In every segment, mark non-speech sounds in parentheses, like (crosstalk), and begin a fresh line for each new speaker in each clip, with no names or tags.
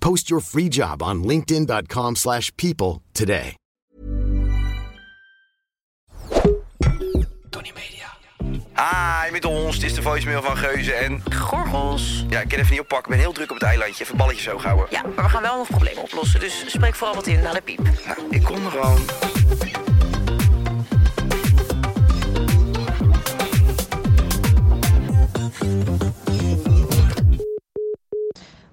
Post your free job on linkedin.com/people slash people today.
Tony Media.
Hi, met ons. Dit is de voicemail van Geuze en... Gorgels. Ja, ik kan even niet oppakken. Ik ben heel druk op het eilandje. Even balletjes hoog houden.
Ja, maar we gaan wel nog problemen oplossen, dus spreek vooral wat in naar de piep.
Nou, ik kom er al.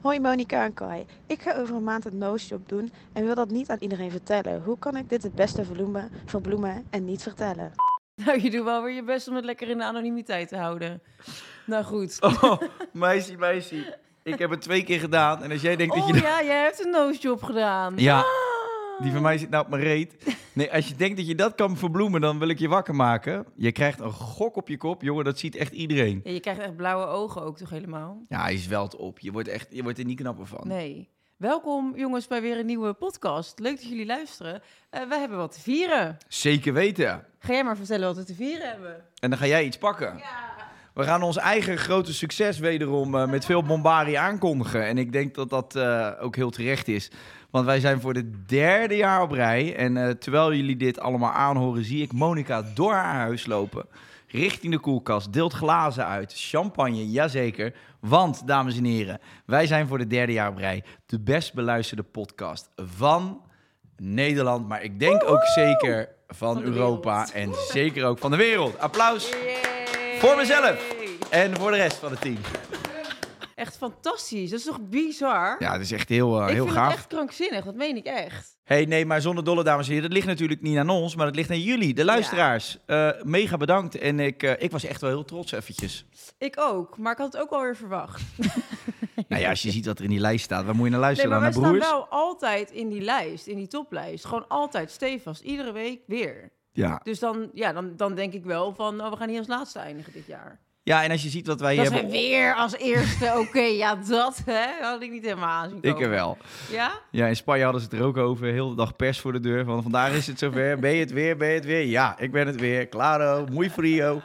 Hoi Monika en Kai. Ik ga over een maand een nose-job doen en wil dat niet aan iedereen vertellen. Hoe kan ik dit het beste verbloemen, verbloemen en niet vertellen?
(laughs) Nou, je doet wel weer je best om het lekker in de anonimiteit te houden. Nou goed. Oh,
Oh, meisje, meisje. Ik heb het twee keer gedaan. En als jij denkt dat je...
Oh, ja, jij hebt een nosejob gedaan.
Ja,
Ah.
die van mij zit nou op mijn reet. Nee, als je denkt dat je dat kan verbloemen, dan wil ik je wakker maken. Je krijgt een gok op je kop. Jongen, dat ziet echt iedereen.
(laughs) Ja, je krijgt echt blauwe ogen ook toch helemaal?
Ja, je zwelt op. Je wordt, echt, je wordt er niet knapper van.
Nee. Welkom jongens bij weer een nieuwe podcast. Leuk dat jullie luisteren. Eh we hebben wat te vieren.
Zeker weten.
Ga jij maar vertellen wat we te vieren hebben.
En dan ga jij iets pakken. We gaan ons eigen grote succes wederom eh, met veel bombarie aankondigen. En ik denk dat dat eh, ook heel terecht is. Want wij zijn voor het derde jaar op rij. En eh, terwijl jullie dit allemaal aanhoren, zie ik Monica door haar huis lopen. Richting de koelkast, deelt glazen uit, champagne, jazeker. Want, dames en heren, wij zijn voor het derde jaar op rij de best beluisterde podcast van Nederland. Maar ik denk ook zeker van,
de
Europa
wereld.
en zeker ook van de wereld. Applaus! Voor mezelf. En voor de rest van het team.
Echt fantastisch. Dat is toch bizar?
Ja, dat is echt heel, eh,
ik
heel
vind
gaaf.
het echt krankzinnig. Dat meen ik echt.
hey, nee, maar zonder dolle, dames en heren. Dat ligt natuurlijk niet aan ons, maar dat ligt aan jullie, de luisteraars. Eh, mega bedankt. En ik, eh, ik was echt wel heel trots eventjes.
Ik ook, maar ik had het ook alweer verwacht.
nou ja, als
(laughs)
je ziet wat er in die lijst staat, waar moet je naar
Nee,
luisteren
maar wij
dan, naar
staan
broers?
wel altijd in die lijst, in die toplijst. Gewoon altijd stevast, iedere week weer.
Ja.
Dus dan, ja, dan, dan denk ik wel van, oh, we gaan hier als laatste eindigen dit jaar.
ja, en als je ziet wat wij
Dat
hebben...
zijn weer als eerste, (laughs) oké, ja, dat hè, had ik niet helemaal aanzien
Ik er
komen.
wel.
Ja?
Ja, in Spanje hadden ze het er ook over. Heel de dag pers voor de deur. Van vandaag is het zover. Ben je het weer? Ben je het weer? Ja, ik ben het weer. Claro, muy frio.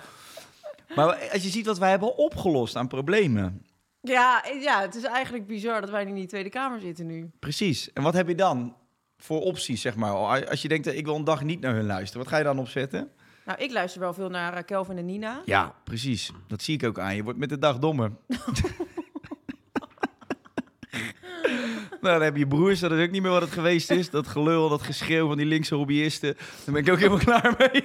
Maar als je ziet wat wij hebben opgelost aan problemen.
Ja, eh, ja, het is eigenlijk bizar dat wij niet in die Tweede Kamer zitten nu.
Precies. En wat heb je dan voor opties, zeg maar? Al- Als je denkt, eh, ik wil een dag niet naar hun luisteren, wat ga je dan opzetten?
Nou, ik luister wel veel naar eh, Kelvin en Nina.
Ja, mm. precies. Dat zie ik ook aan. Je wordt met de dag dommer. (laughs) nou, dan heb je broers, dat is ook niet meer wat het geweest is. Dat gelul, dat geschreeuw van die linkse hobbyisten. Daar ben ik ook helemaal klaar mee.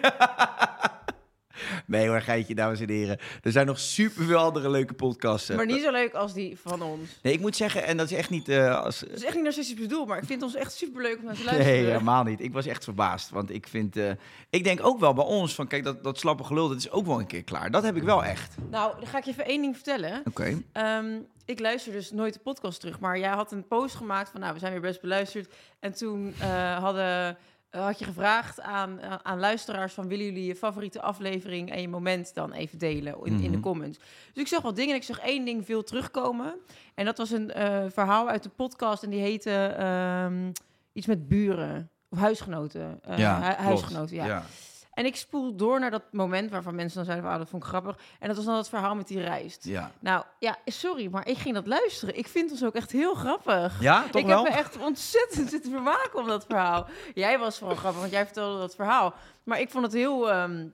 nee hoor, geitje, dames en heren. Er zijn nog superveel andere leuke podcasts.
Maar niet zo leuk als die van ons.
Nee, ik moet zeggen, en dat is echt niet... eh, als,
Dat is echt niet narcistisch bedoeld, maar ik vind ons echt superleuk om naar te luisteren.
Nee, helemaal niet. Ik was echt verbaasd. Want ik vind. eh, ik denk ook wel bij ons van. Kijk, dat, dat slappe gelul, dat is ook wel een keer klaar. Dat heb ik wel echt. Oké.
Nou, dan ga ik je even één ding vertellen. Ehm, ik luister dus nooit de podcast terug, maar jij had een post gemaakt van, nou, we zijn weer best beluisterd. En toen eh, hadden, eh, had je gevraagd aan, aan- aan luisteraars van, willen jullie je favoriete aflevering en je moment dan even delen in, in de comments. Dus ik zag wat dingen en ik zag één ding veel terugkomen. En dat was een eh, verhaal uit de podcast en die heette ehm, iets met buren of huisgenoten. Eh, hu-
klopt.
huisgenoten, ja. En ik spoel door naar dat moment waarvan mensen dan zeiden, van, "Ah, dat vond ik grappig. En dat was dan dat verhaal met die rijst.
Ja.
Nou, ja, sorry, maar ik ging dat luisteren. Ik vind ons ook echt heel grappig.
Ja, toch
ik
wel?
heb me echt ontzettend zitten vermaken om dat verhaal. Jij
(laughs)
was vooral grappig, want jij vertelde dat verhaal. Maar ik vond het heel, ehm,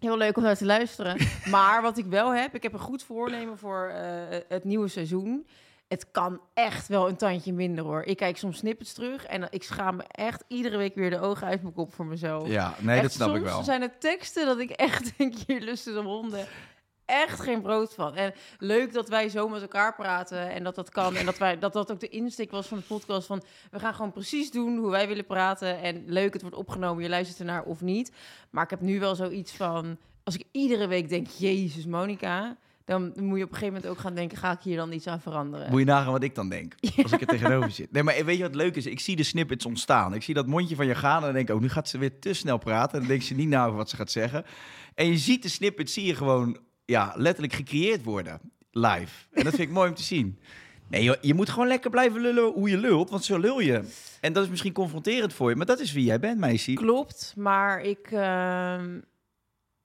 heel leuk om naar te
(laughs)
luisteren. maar wat ik wel heb, ik heb een goed voornemen voor eh, het nieuwe seizoen. Het kan echt wel een tandje minder hoor. Ik kijk soms snippets terug en ik schaam me echt iedere week weer de ogen uit mijn kop voor mezelf.
Ja, nee,
Echt,
dat snap ik
soms
wel.
zijn het teksten dat ik echt (laughs) denk, hier lusten de honden echt geen brood van. En leuk dat wij zo met elkaar praten en dat dat kan. En dat wij, dat, dat ook de insteek was van de podcast van... we gaan gewoon precies doen hoe wij willen praten. En leuk, het wordt opgenomen, je luistert ernaar of niet. Maar ik heb nu wel zoiets van... als ik iedere week denk, jezus Monica... dan moet je op een gegeven moment ook gaan denken... ga ik hier dan iets aan veranderen?
Moet je nagaan wat ik dan
(laughs)
denk. Als ik er tegenover zit. Nee, maar weet je wat leuk is? Ik zie de snippets ontstaan. Ik zie dat mondje van je gaan en dan denk ik, oh, nu gaat ze weer te snel praten. Dan denkt ze niet na over wat ze gaat zeggen. En je ziet de snippets, zie je gewoon ja, letterlijk gecreëerd worden. Live. En dat vind ik mooi om te zien. Nee, joh, je moet gewoon lekker blijven lullen hoe je lult, want zo lul je. En dat is misschien confronterend voor je, maar dat is wie jij bent, meisje.
Klopt, maar ik... ehm,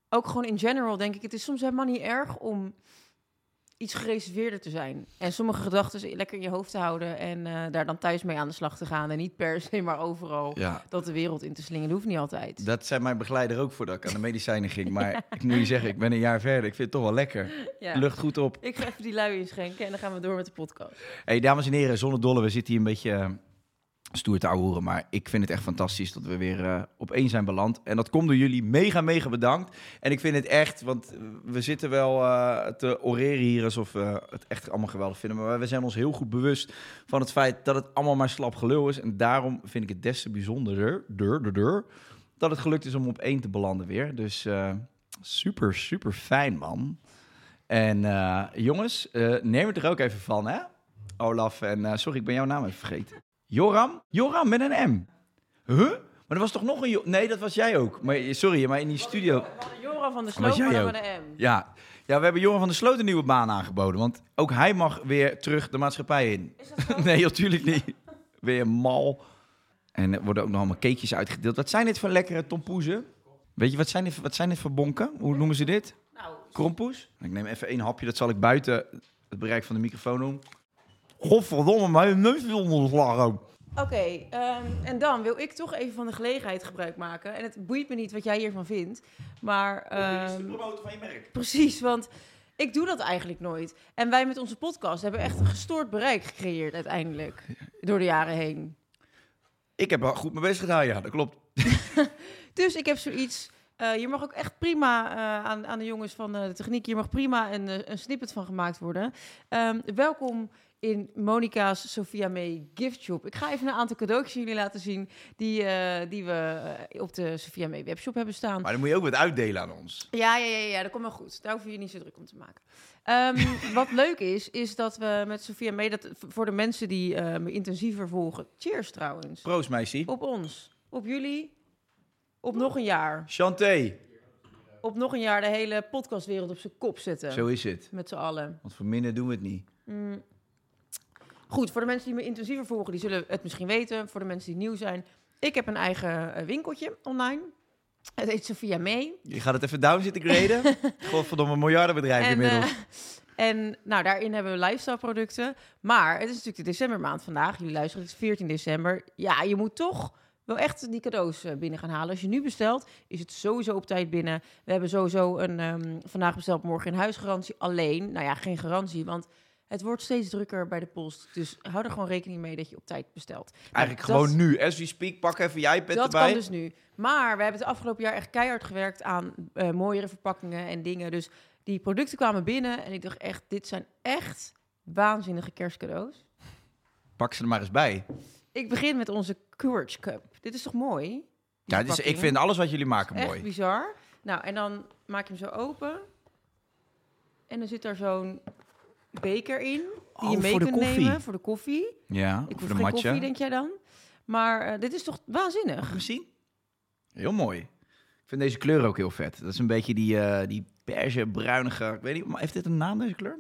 ook gewoon in general denk ik... het is soms helemaal niet erg om iets gereserveerder te zijn. En sommige gedachten lekker in je hoofd te houden... en eh, daar dan thuis mee aan de slag te gaan. En niet per se, maar overal...
Ja,
dat de wereld in te slingen. Dat hoeft niet altijd.
dat zei mijn begeleider ook voordat ik aan de medicijnen ging.
(laughs)
Maar ik moet je zeggen, ik ben een jaar verder. Ik vind het toch wel lekker.
Ja.
Lucht goed op.
Ik ga even die lui inschenken en dan gaan we door met de podcast.
Hey, dames en heren, zonder dolle, we zitten hier een beetje eh, stoer te ouwehoeren. Maar ik vind het echt fantastisch dat we weer eh, op één zijn beland. En dat komt door jullie. Mega, mega bedankt. En ik vind het echt, want eh, we zitten wel eh, te oreren hier alsof we het echt allemaal geweldig vinden. Maar we zijn ons heel goed bewust van het feit dat het allemaal maar slap gelul is. En daarom vind ik het des te bijzonderder dur, dur, dur, dat het gelukt is om op één te belanden weer. Dus eh, super, super fijn, man. En eh, jongens, eh, neem het er ook even van, hè? Olaf en... eh, sorry, ik ben jouw naam even vergeten. Joram? Joram met een M. Huh? Maar er was toch nog een... Jo- nee, dat was jij ook. Maar, sorry, maar in die studio...
Joran van der
Maar
Sloot,
jij
Madame
ook.
de M.
Ja. ja, we hebben Joran van der Sloot een nieuwe baan aangeboden. Want ook hij mag weer terug de maatschappij in. (laughs) nee, natuurlijk niet. Weer mal. En er worden ook nog allemaal cakejes uitgedeeld. Wat zijn dit voor lekkere tompoezen? Weet je, wat zijn dit, wat zijn dit voor bonken? Hoe noemen ze dit?
Nou,
Krompoes? Ik neem even één hapje, dat zal ik buiten het bereik van de microfoon doen. Godverdomme, mijn neus wil onder de slag ook.
oké. ehm, en dan wil ik toch even van de gelegenheid gebruik maken. En het boeit me niet wat jij hiervan vindt. Maar...
Oh,
ehm,
promotor van je merk.
Precies, want ik doe dat eigenlijk nooit. En wij met onze podcast hebben echt een gestoord bereik gecreëerd uiteindelijk. Door de jaren heen.
Ik heb wel goed mijn best gedaan, ja, dat klopt.
Dus ik heb zoiets. eh, je mag ook echt prima eh, aan, aan de jongens van eh, de techniek. Je mag prima een, eh, een snippet van gemaakt worden. Ehm, welkom in Monica's Sophia May Gift Shop. Ik ga even een aantal cadeautjes jullie laten zien die, eh, die we eh, op de Sophia May webshop hebben staan.
Maar dan moet je ook wat uitdelen aan ons.
Ja, ja, ja, ja, dat komt wel goed. Daar hoef je je niet zo druk om te maken. Ehm, (laughs) wat leuk is, is dat we met Sofia mee... Dat, voor de mensen die eh, me intensiever volgen... Cheers trouwens.
Proost, meisje.
Op ons. Op jullie. Op nog een jaar.
Chanté.
Op nog een jaar de hele podcastwereld op zijn kop zetten.
Zo is het.
Met z'n allen.
Want voor minder doen we het niet.
Goed, voor de mensen die me intensiever volgen... die zullen het misschien weten. Voor de mensen die nieuw zijn... Ik heb een eigen eh, winkeltje online. Het heet Sofia May.
Je gaat het even down zitten
(laughs)
graden. Godverdomme, miljardenbedrijf
En,
inmiddels.
eh, (laughs) en nou, daarin hebben we lifestyle producten. Maar het is natuurlijk de decembermaand vandaag. Jullie luisteren, het is 14 december. Ja, je moet toch wel echt die cadeaus eh, binnen gaan halen. Als je nu bestelt, is het sowieso op tijd binnen. We hebben sowieso een ehm, vandaag besteld, morgen in huis garantie. Alleen, nou ja, geen garantie, want... Het wordt steeds drukker bij de post. Dus hou er gewoon rekening mee dat je op tijd bestelt. Nou,
Eigenlijk
dat-
gewoon nu. As we speak, pak even je iPad
dat
erbij.
kan dus nu. Maar we hebben het afgelopen jaar echt keihard gewerkt aan eh, mooiere verpakkingen en dingen. Dus die producten kwamen binnen en ik dacht echt, dit zijn echt waanzinnige kerstcadeaus.
Pak ze er maar eens bij.
Ik begin met onze Courage Cup. Dit is toch mooi? Die
Ja, dus ik
verpakking.
vind alles wat jullie maken
echt
mooi.
bizar. Nou, en dan maak je hem zo open. En dan zit daar zo'n beker in die
Oh,
je mee
voor de
kunt
koffie.
nemen voor de koffie.
Ja, voor
Ik hoef
de
geen
matje.
koffie, denk jij dan? Maar eh, dit is toch waanzinnig?
gezien? Heel mooi. Ik vind deze kleur ook heel vet. Dat is een beetje die, eh die beige, bruinige... Ik weet niet, maar heeft dit een naam, deze kleur?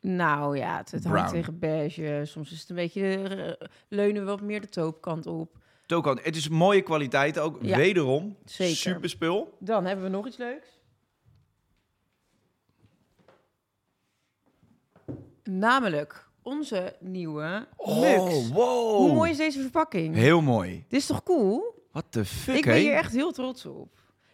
Nou ja, het, het hangt
Brown.
tegen beige. Soms is het een beetje eh, leunen we wat meer de toopkant op.
Toko, het is mooie kwaliteit ook.
Ja,
Wederom,
zeker.
super spul.
Dan hebben we nog iets leuks. Namelijk onze nieuwe
Oh.
mux.
wow.
Hoe mooi is deze verpakking?
Heel mooi.
Dit is toch cool?
What the fuck,
ik ben hier echt heel trots op. En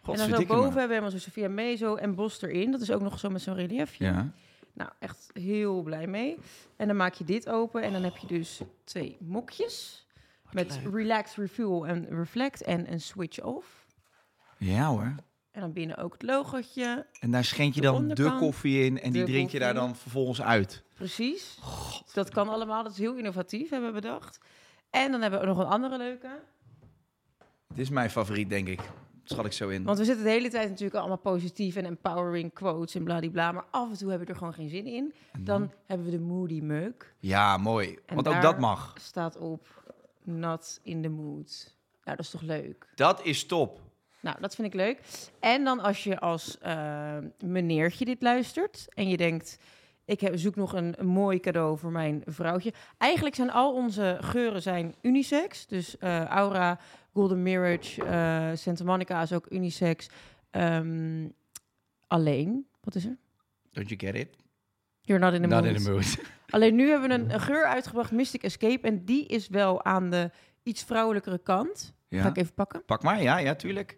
dan zo
Godverdikke me.
boven hebben we helemaal zo Sophia Mezo en Bos erin. Dat is ook nog zo met zo'n reliefje.
Ja.
Nou, echt heel blij mee. En dan maak je dit open en dan heb je dus twee mokjes. met relax, refuel en reflect en een switch off.
Ja hoor.
En dan binnen ook het logotje.
En daar schenk je
De
dan de
onderkant,
koffie in en die
de
drink je daar
koffie.
dan vervolgens uit.
Precies. Dat kan allemaal. Dat is heel innovatief, hebben we bedacht. En dan hebben we nog een andere leuke.
Dit is mijn favoriet, denk ik. Dat schat ik zo in.
Want we zitten de hele tijd natuurlijk allemaal positief en empowering quotes en bladibla. Maar af en toe hebben we er gewoon geen zin in. Dan hebben we de moody mug.
Ja, mooi.
En
Want ook
daar
dat mag.
staat op not in the mood. Nou, dat is toch leuk?
Dat is top.
Nou, dat vind ik leuk. En dan als je als eh, meneertje dit luistert en je denkt... ik heb, zoek nog een, een mooi cadeau voor mijn vrouwtje. Eigenlijk zijn al onze geuren zijn unisex. Dus eh, Aura, Golden Mirage, eh, Santa Monica is ook unisex. Ehm, alleen, wat is er?
Don't you get it?
You're not in the mood.
mood.
Alleen nu hebben we een, een geur uitgebracht, Mystic Escape. En die is wel aan de iets vrouwelijkere kant.
(laughs) Ja.
Ga ik even pakken.
Pak maar, ja, ja, tuurlijk.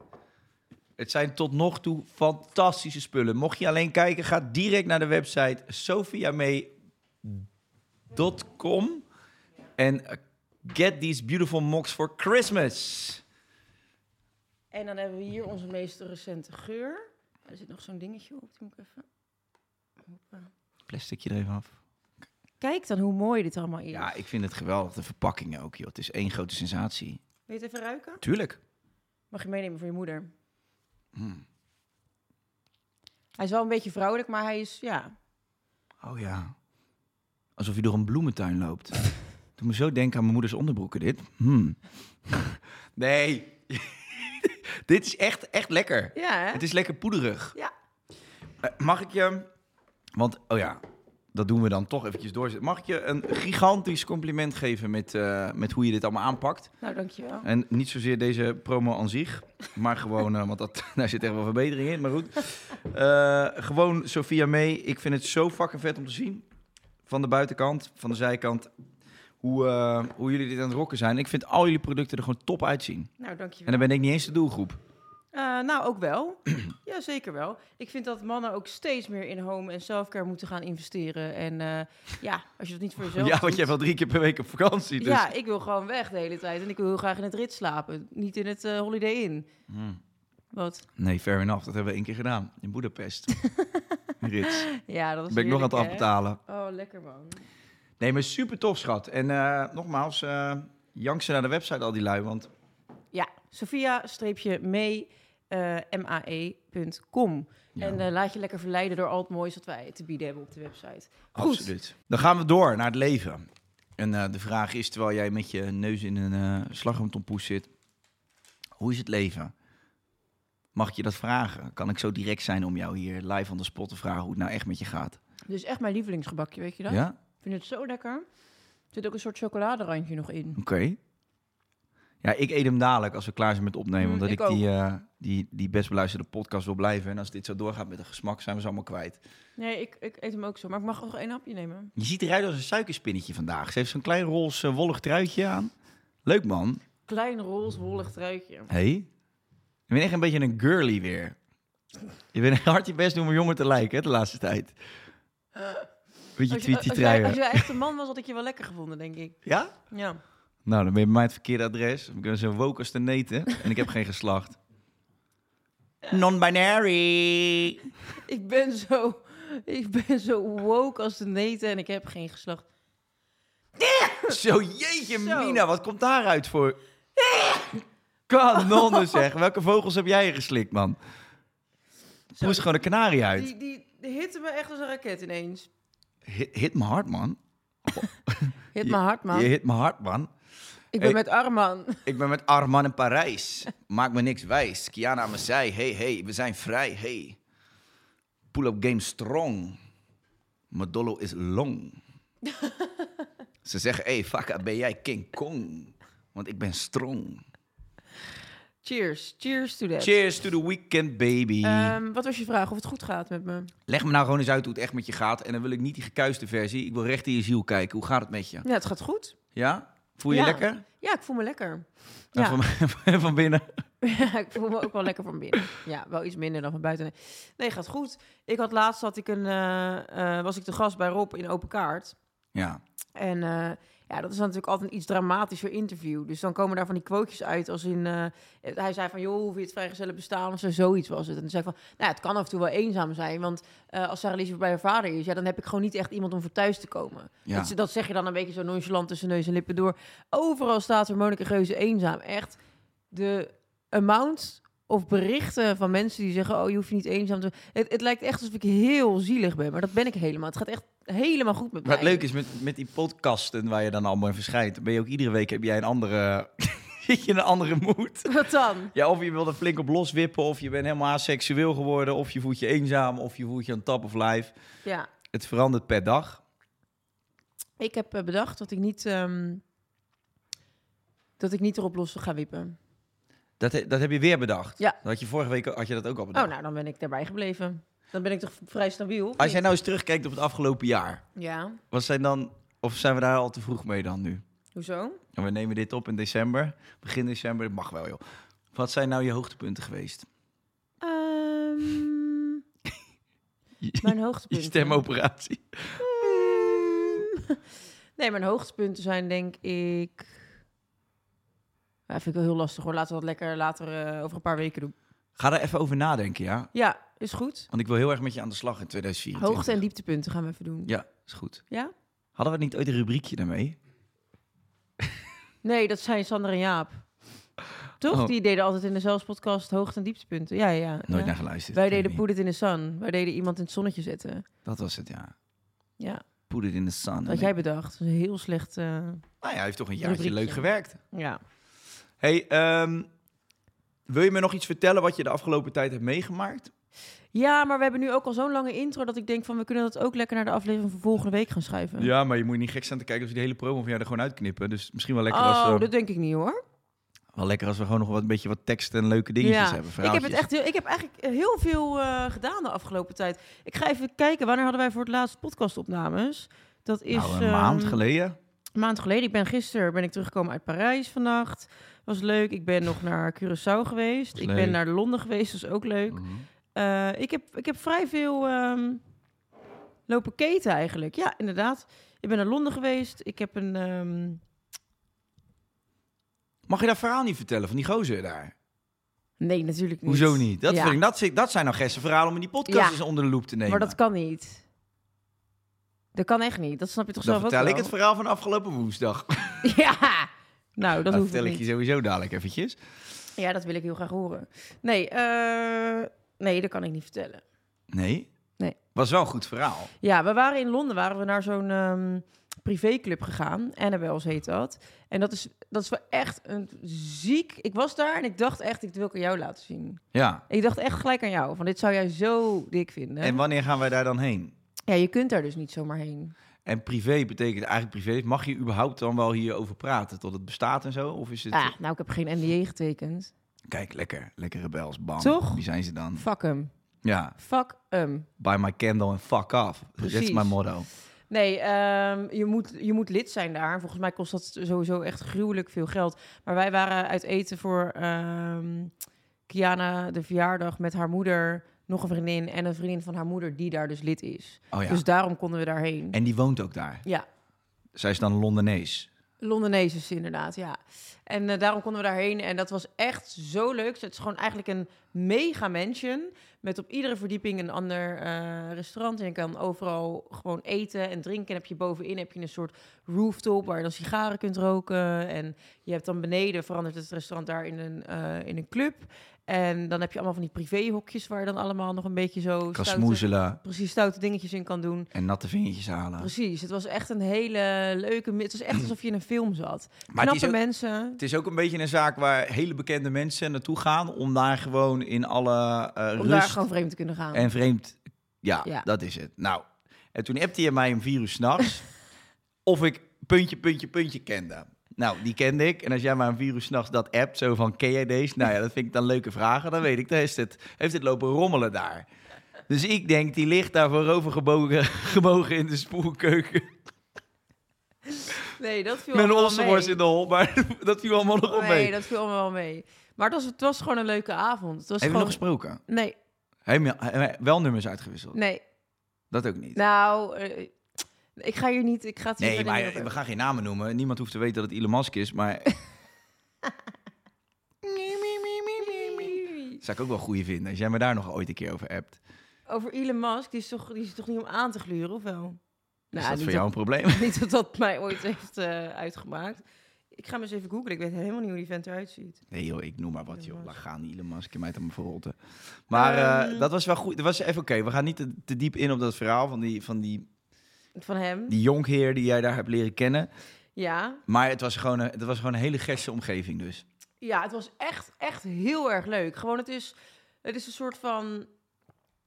Het zijn tot nog toe fantastische spullen. Mocht je alleen kijken, ga direct naar de website sofiamee.com en eh, get these beautiful mocks for Christmas.
En dan hebben we hier onze meest recente geur. Er zit nog zo'n dingetje op, die moet ik even...
Plasticje er even af.
Kijk dan hoe mooi dit allemaal is.
Ja, ik vind het geweldig. De verpakkingen ook, joh. Het is één grote sensatie.
Wil je het even ruiken?
Tuurlijk.
Mag je meenemen voor je moeder.
Hmm.
Hij is wel een beetje vrouwelijk, maar hij is, ja...
Oh ja. Alsof je door een bloementuin loopt. (laughs) Doe me zo denken aan mijn moeders onderbroeken, dit. Hmm. (laughs) Nee. (laughs) dit is echt, echt lekker.
Ja, hè?
Het is lekker poederig.
Ja.
Eh, Mag ik je... Want, oh ja, dat doen we dan toch eventjes doorzetten. Mag ik je een gigantisch compliment geven met, eh, met hoe je dit allemaal aanpakt?
Nou, dankjewel.
En niet zozeer deze promo aan zich, maar gewoon, eh, want dat, (laughs) daar zit echt wel verbetering in, maar goed. Eh, gewoon Sophia mee. Ik vind het zo fucking vet om te zien. Van de buitenkant, van de zijkant. Hoe, eh, hoe jullie dit aan het rocken zijn. Ik vind al jullie producten er gewoon top uitzien.
Nou, dankjewel.
En dan ben ik niet eens de doelgroep.
Eh, nou, ook
(clears throat)
wel. ja, zeker wel. Ik vind dat mannen ook steeds meer in home en selfcare moeten gaan investeren. En eh, ja, als je dat niet
(laughs)
voor jezelf
ja, want
doet-
jij wel drie keer per week op vakantie. Dus.
Ja, ik wil gewoon weg de hele tijd. En ik wil heel graag in het rit slapen. Niet in het eh, Holiday Inn.
Hmm.
Wat?
Nee, fair enough. Dat hebben we één keer gedaan. In
(laughs)
Boedapest. Rits.
Ja, dat was
Ben ik nog aan
heerlijk,
het afbetalen.
hè? Oh, lekker man.
Nee, maar super tof, schat. En eh, nogmaals, eh jank ze naar de website al die lui, want...
Ja, Sophia-mee, eh, MAE.com. En eh, laat je lekker verleiden door al het moois wat wij te bieden hebben op de website. Goed.
Absoluut. Dan gaan we door naar het leven. En eh, de vraag is, terwijl jij met je neus in een eh slagroomtompoes zit, hoe is het leven? Mag ik je dat vragen? Kan ik zo direct zijn om jou hier live on the spot te vragen hoe het nou echt met je gaat?
Dus echt mijn lievelingsgebakje, weet je dat?
Ja?
Ik vind het zo lekker. Er zit ook een soort chocoladerandje nog in.
Oké. Ja, ik eet hem dadelijk als we klaar zijn met opnemen,
Mm,
omdat ik,
ik
die, eh, die, die best beluisterde podcast wil blijven. En als dit zo doorgaat met de gesmak, zijn we ze allemaal kwijt.
Nee, ik, ik eet hem ook zo. Maar ik mag nog één hapje nemen.
Je ziet eruit als een suikerspinnetje vandaag. Ze heeft zo'n klein roze wollig truitje aan. Leuk man.
Klein roze wollig truitje.
Hé? Je bent echt een beetje een girly weer. Je bent (laughs) hard je best doen om jonger te lijken hè, de laatste tijd. Beetje
Als je, als,
tweety
jij, als
truien.
jij echt een man was, had ik je wel lekker gevonden, denk ik.
Ja?
Ja.
Nou, dan ben je bij mij het verkeerde adres. Ik ben zo woke als te neten en ik heb geen
(laughs)
geslacht. Non-binary.
Ik ben zo, ik ben zo woke als de neten en ik heb geen geslacht.
Zo, jeetje
Zo.
Mina, wat komt daaruit
(laughs)
voor? Kanonnen zeg. Welke vogels heb jij geslikt, man? Poes gewoon een kanarie uit.
Die, die, die hitte me echt als een raket ineens.
Hit, hit me hard, man.
Hit me hard, man.
Je hit me hard, man.
ik
hey.
ben met Arman. (laughs)
Ik ben met Arman in Parijs. Maak me niks wijs. Kiana aan mijn zij. Hey, hey, we zijn vrij. Hey. Pull-up game strong. Madollo is
(laughs)
long. Ze zeggen, hey, fuck, ben jij King Kong? Want ik ben strong.
Cheers. Cheers to that.
Cheers to the weekend, baby.
Ehm, wat was je vraag? Of het goed gaat met me?
Leg me nou gewoon eens uit hoe het echt met je gaat. En dan wil ik niet die gekuiste versie. Ik wil recht in je ziel kijken. Hoe gaat het met je?
Ja, het gaat goed.
Ja? Voel je
Ja.
lekker?
Ja, ik voel me lekker. (laughs)
En
Ja.
Van, (laughs) van binnen?
Ja, ik voel me ook wel lekker van binnen. Ja, wel iets minder dan van buiten. Nee, gaat goed. Ik had laatst had ik een, eh, eh, was ik de gast bij Rob in Open Kaart.
Ja.
En eh, ja, dat is natuurlijk altijd een iets dramatischer interview. Dus dan komen daar van die quotejes uit als in... eh, hij zei van, joh, hoe vind je het vrijgezellen bestaan? Of zo, zoiets was het. En toen zei ik van, nou, ja, het kan af en toe wel eenzaam zijn. Want eh, als Sarah Lise weer bij haar vader is... Ja, dan heb ik gewoon niet echt iemand om voor thuis te komen.
Ja.
Dat, dat zeg je dan een beetje zo nonchalant tussen neus en lippen door. Overal staat er Monika Geuze eenzaam. Echt de amount of berichten van mensen die zeggen... oh, je hoeft je niet eenzaam te... Het, het lijkt echt alsof ik heel zielig ben. Maar dat ben ik helemaal. Het gaat echt helemaal goed met mij.
Maar het leuke is met, met die podcasten waar je dan allemaal in verschijnt, ben je ook iedere week heb jij een andere, (laughs) zit je in een andere moed.
(laughs) Wat dan?
Ja, of je wil er flink op loswippen, of je bent helemaal aseksueel geworden, of je voelt je eenzaam, of je voelt je een tap of life.
Ja,
Het verandert per dag.
ik heb eh, bedacht dat ik niet, ehm, dat ik niet erop los wil gaan wiepen.
Dat, he- dat heb je weer bedacht.
Ja.
Dat had je vorige week had je dat ook al bedacht.
Oh, nou, dan ben ik daarbij gebleven. Dan ben ik toch vrij stabiel? of
Als jij
niet?
nou eens terugkijkt op het afgelopen jaar,
Ja,
wat zijn dan, of zijn we daar al te vroeg mee dan nu?
hoezo?
En we nemen dit op in december, begin december, dat mag wel joh. Wat zijn nou je hoogtepunten geweest?
Ehm, (laughs) mijn
Je
hoogtepunten.
stemoperatie.
Ehm, nee, mijn hoogtepunten zijn denk ik... Ja, vind ik wel heel lastig hoor. Laten we dat lekker later eh, over een paar weken doen.
(laughs) Ga daar even over nadenken, ja?
Ja, is goed.
Want ik wil heel erg met je aan de slag in 2024.
Hoogte- en dieptepunten gaan we even doen.
Ja, is goed.
ja?
Hadden we niet ooit een rubriekje daarmee?
Nee, dat zijn Sander en Jaap. Toch?
Oh.
Die deden altijd in de zelfs podcast hoogte- en dieptepunten. Ja, ja. ja.
Nooit naar geluisterd.
Wij
Ik weet
deden
niet.
Put It in the Sun. Wij deden iemand in het zonnetje zetten.
Dat was het, ja.
Ja,
Put it in the sun.
dat had jij bedacht. Dat is een heel slecht... eh,
Nou ja, hij heeft toch een jaartje
Rubriekje.
leuk gewerkt.
ja.
hey, ehm, wil je me nog iets vertellen wat je de afgelopen tijd hebt meegemaakt?
ja, maar we hebben nu ook al zo'n lange intro... dat ik denk van, we kunnen dat ook lekker naar de aflevering van volgende week gaan schuiven.
Ja, maar je moet niet gek staan te kijken of ze die hele promo van jou er gewoon uitknippen. Dus misschien wel lekker,
oh,
als, we,
dat denk ik niet hoor.
wel lekker als we gewoon nog wat, een beetje wat tekst en leuke dingetjes hebben.
ik heb,
verhaaltjes.
het echt heel, ik heb eigenlijk heel veel eh, gedaan de afgelopen tijd. Ik ga even kijken, wanneer hadden wij voor het laatst podcastopnames? Dat is...
Nou, een maand
ehm,
geleden.
Een maand geleden. Ik ben gisteren ben ik teruggekomen uit Parijs vannacht. Was leuk. Ik ben nog naar Curaçao geweest.
Was
Ik
leuk. Mhm.
ben naar Londen geweest. Dat is ook leuk. Eh, ik, heb, ik heb vrij veel ehm, lopen keten eigenlijk. Ja, inderdaad. Ik ben naar Londen geweest. Ik heb een... ehm,
Mag je dat verhaal niet vertellen van die gozer daar?
Nee, natuurlijk niet.
Hoezo niet? Dat,
Ja.
vind ik, dat, zi- dat zijn nou gessen verhalen om in die podcast
Ja.
eens onder de loep te nemen.
Maar dat kan niet. Dat kan echt niet. Dat snap je toch
Dan
zelf ook
vertel ik
wel?
het verhaal van afgelopen woensdag. (laughs) Dat,
(laughs) Ja! Nou, dat, hoeft
vertel ik
niet.
je sowieso dadelijk eventjes.
Ja, dat wil ik heel graag horen. Nee, eh, nee, dat kan ik niet vertellen.
Nee?
Nee.
Was wel een goed verhaal.
Ja, we waren in Londen, waren we naar zo'n ehm, privéclub gegaan. Annabelle's heet dat. En dat is, dat is wel echt een ziek... Ik was daar en ik dacht echt, ik wil ik aan jou laten zien.
Ja.
Ik dacht echt gelijk aan jou, van dit zou jij zo dik vinden.
En wanneer gaan wij daar dan heen?
Ja, je kunt daar dus niet zomaar heen.
En privé betekent eigenlijk privé. Mag je überhaupt dan wel hierover praten tot het bestaat en zo? Of is het...
Ah, nou, ik heb geen NDA getekend.
Kijk, lekker. Lekkere bels. Bam.
Toch?
Wie zijn ze dan?
Fuck hem.
Ja.
Fuck hem.
Buy my candle and fuck off. That's
Precies.
my motto.
Nee, ehm, je, moet, je moet lid zijn daar. Volgens mij kost dat sowieso echt gruwelijk veel geld. Maar wij waren uit eten voor ehm, Kiana de verjaardag met haar moeder, nog een vriendin en een vriendin van haar moeder die daar dus lid is.
Oh ja.
Dus daarom konden we daarheen.
En die woont ook daar.
Ja,
Zij is dan Londenees.
Londenees is ze inderdaad, ja. En eh, daarom konden we daarheen en dat was echt zo leuk. Het is gewoon eigenlijk een mega mansion met op iedere verdieping een ander eh, restaurant. En je kan overal gewoon eten en drinken. En heb je bovenin heb je een soort rooftop waar je dan sigaren kunt roken. En je hebt dan beneden verandert het restaurant daar in een, eh, in een club. En dan heb je allemaal van die privéhokjes waar je dan allemaal nog een beetje zo...
Kan
stoute-
smoezelen
Precies, stoute dingetjes in kan doen.
en natte vingertjes halen.
Precies, het was echt een hele leuke... mi- Het was
(clears throat)
echt alsof je in een film zat.
Maar het is
Knappe
ook-
mensen.
Het is ook een beetje een zaak waar hele bekende mensen naartoe gaan om daar gewoon in alle eh,
Om daar
rust
gewoon vreemd te kunnen gaan.
en vreemd. Ja,
Ja.
dat is het. Nou, en toen appte je mij om vier uur s'nachts (laughs) of ik puntje, puntje, puntje kende. Nou, die kende ik. En als jij maar om vier uur s'nachts dat appt, zo van ken jij deze? Nou ja, dat vind ik dan leuke vragen. Dan weet ik, daar is het, heeft het lopen rommelen daar. Dus ik denk, die ligt daar voorover gebogen, (laughs) gebogen in de spoelkeuken.
Nee, dat viel
Met een
allemaal Oh, wel mee.
ossenworst in de hol, maar (laughs) dat viel allemaal nog op mee.
Nee, dat viel allemaal wel mee. Maar het was, het was gewoon een leuke avond. Het was
Hebben we nog
gewoon...
gesproken?
Nee,
Helemaal- eh, wel nummers uitgewisseld.
nee.
Dat ook niet.
Nou, eh, ik ga hier niet... Ik ga het hier
Nee,
verder
maar
niet over
we gaan geen namen noemen. Niemand hoeft te weten dat het Elon Musk is,
(laughs)
maar... Zou ik ook wel goeie vinden, als jij me daar nog ooit een keer over appt.
Over Elon Musk, die is, toch, die is toch niet om aan te gluren, of wel?
Is
Nou,
dat
niet
voor jou een probleem?
(laughs) Niet dat dat mij ooit heeft eh, uitgemaakt. Ik ga hem eens even googlen. Ik weet helemaal niet hoe die vent eruit ziet.
Nee joh, ik noem maar wat joh. Laat gaan die Elon Musk, je mij dan maar verrotten. Maar
Ehm.
eh, dat was wel goed. Dat was even oké. We gaan niet te, te diep in op dat verhaal van die, van die,
Van hem?
die jonkheer die jij daar hebt leren kennen.
Ja.
Maar het was gewoon een, het was gewoon een hele gerse omgeving dus.
Ja, het was echt, echt heel erg leuk. Gewoon, het is, het is een soort van...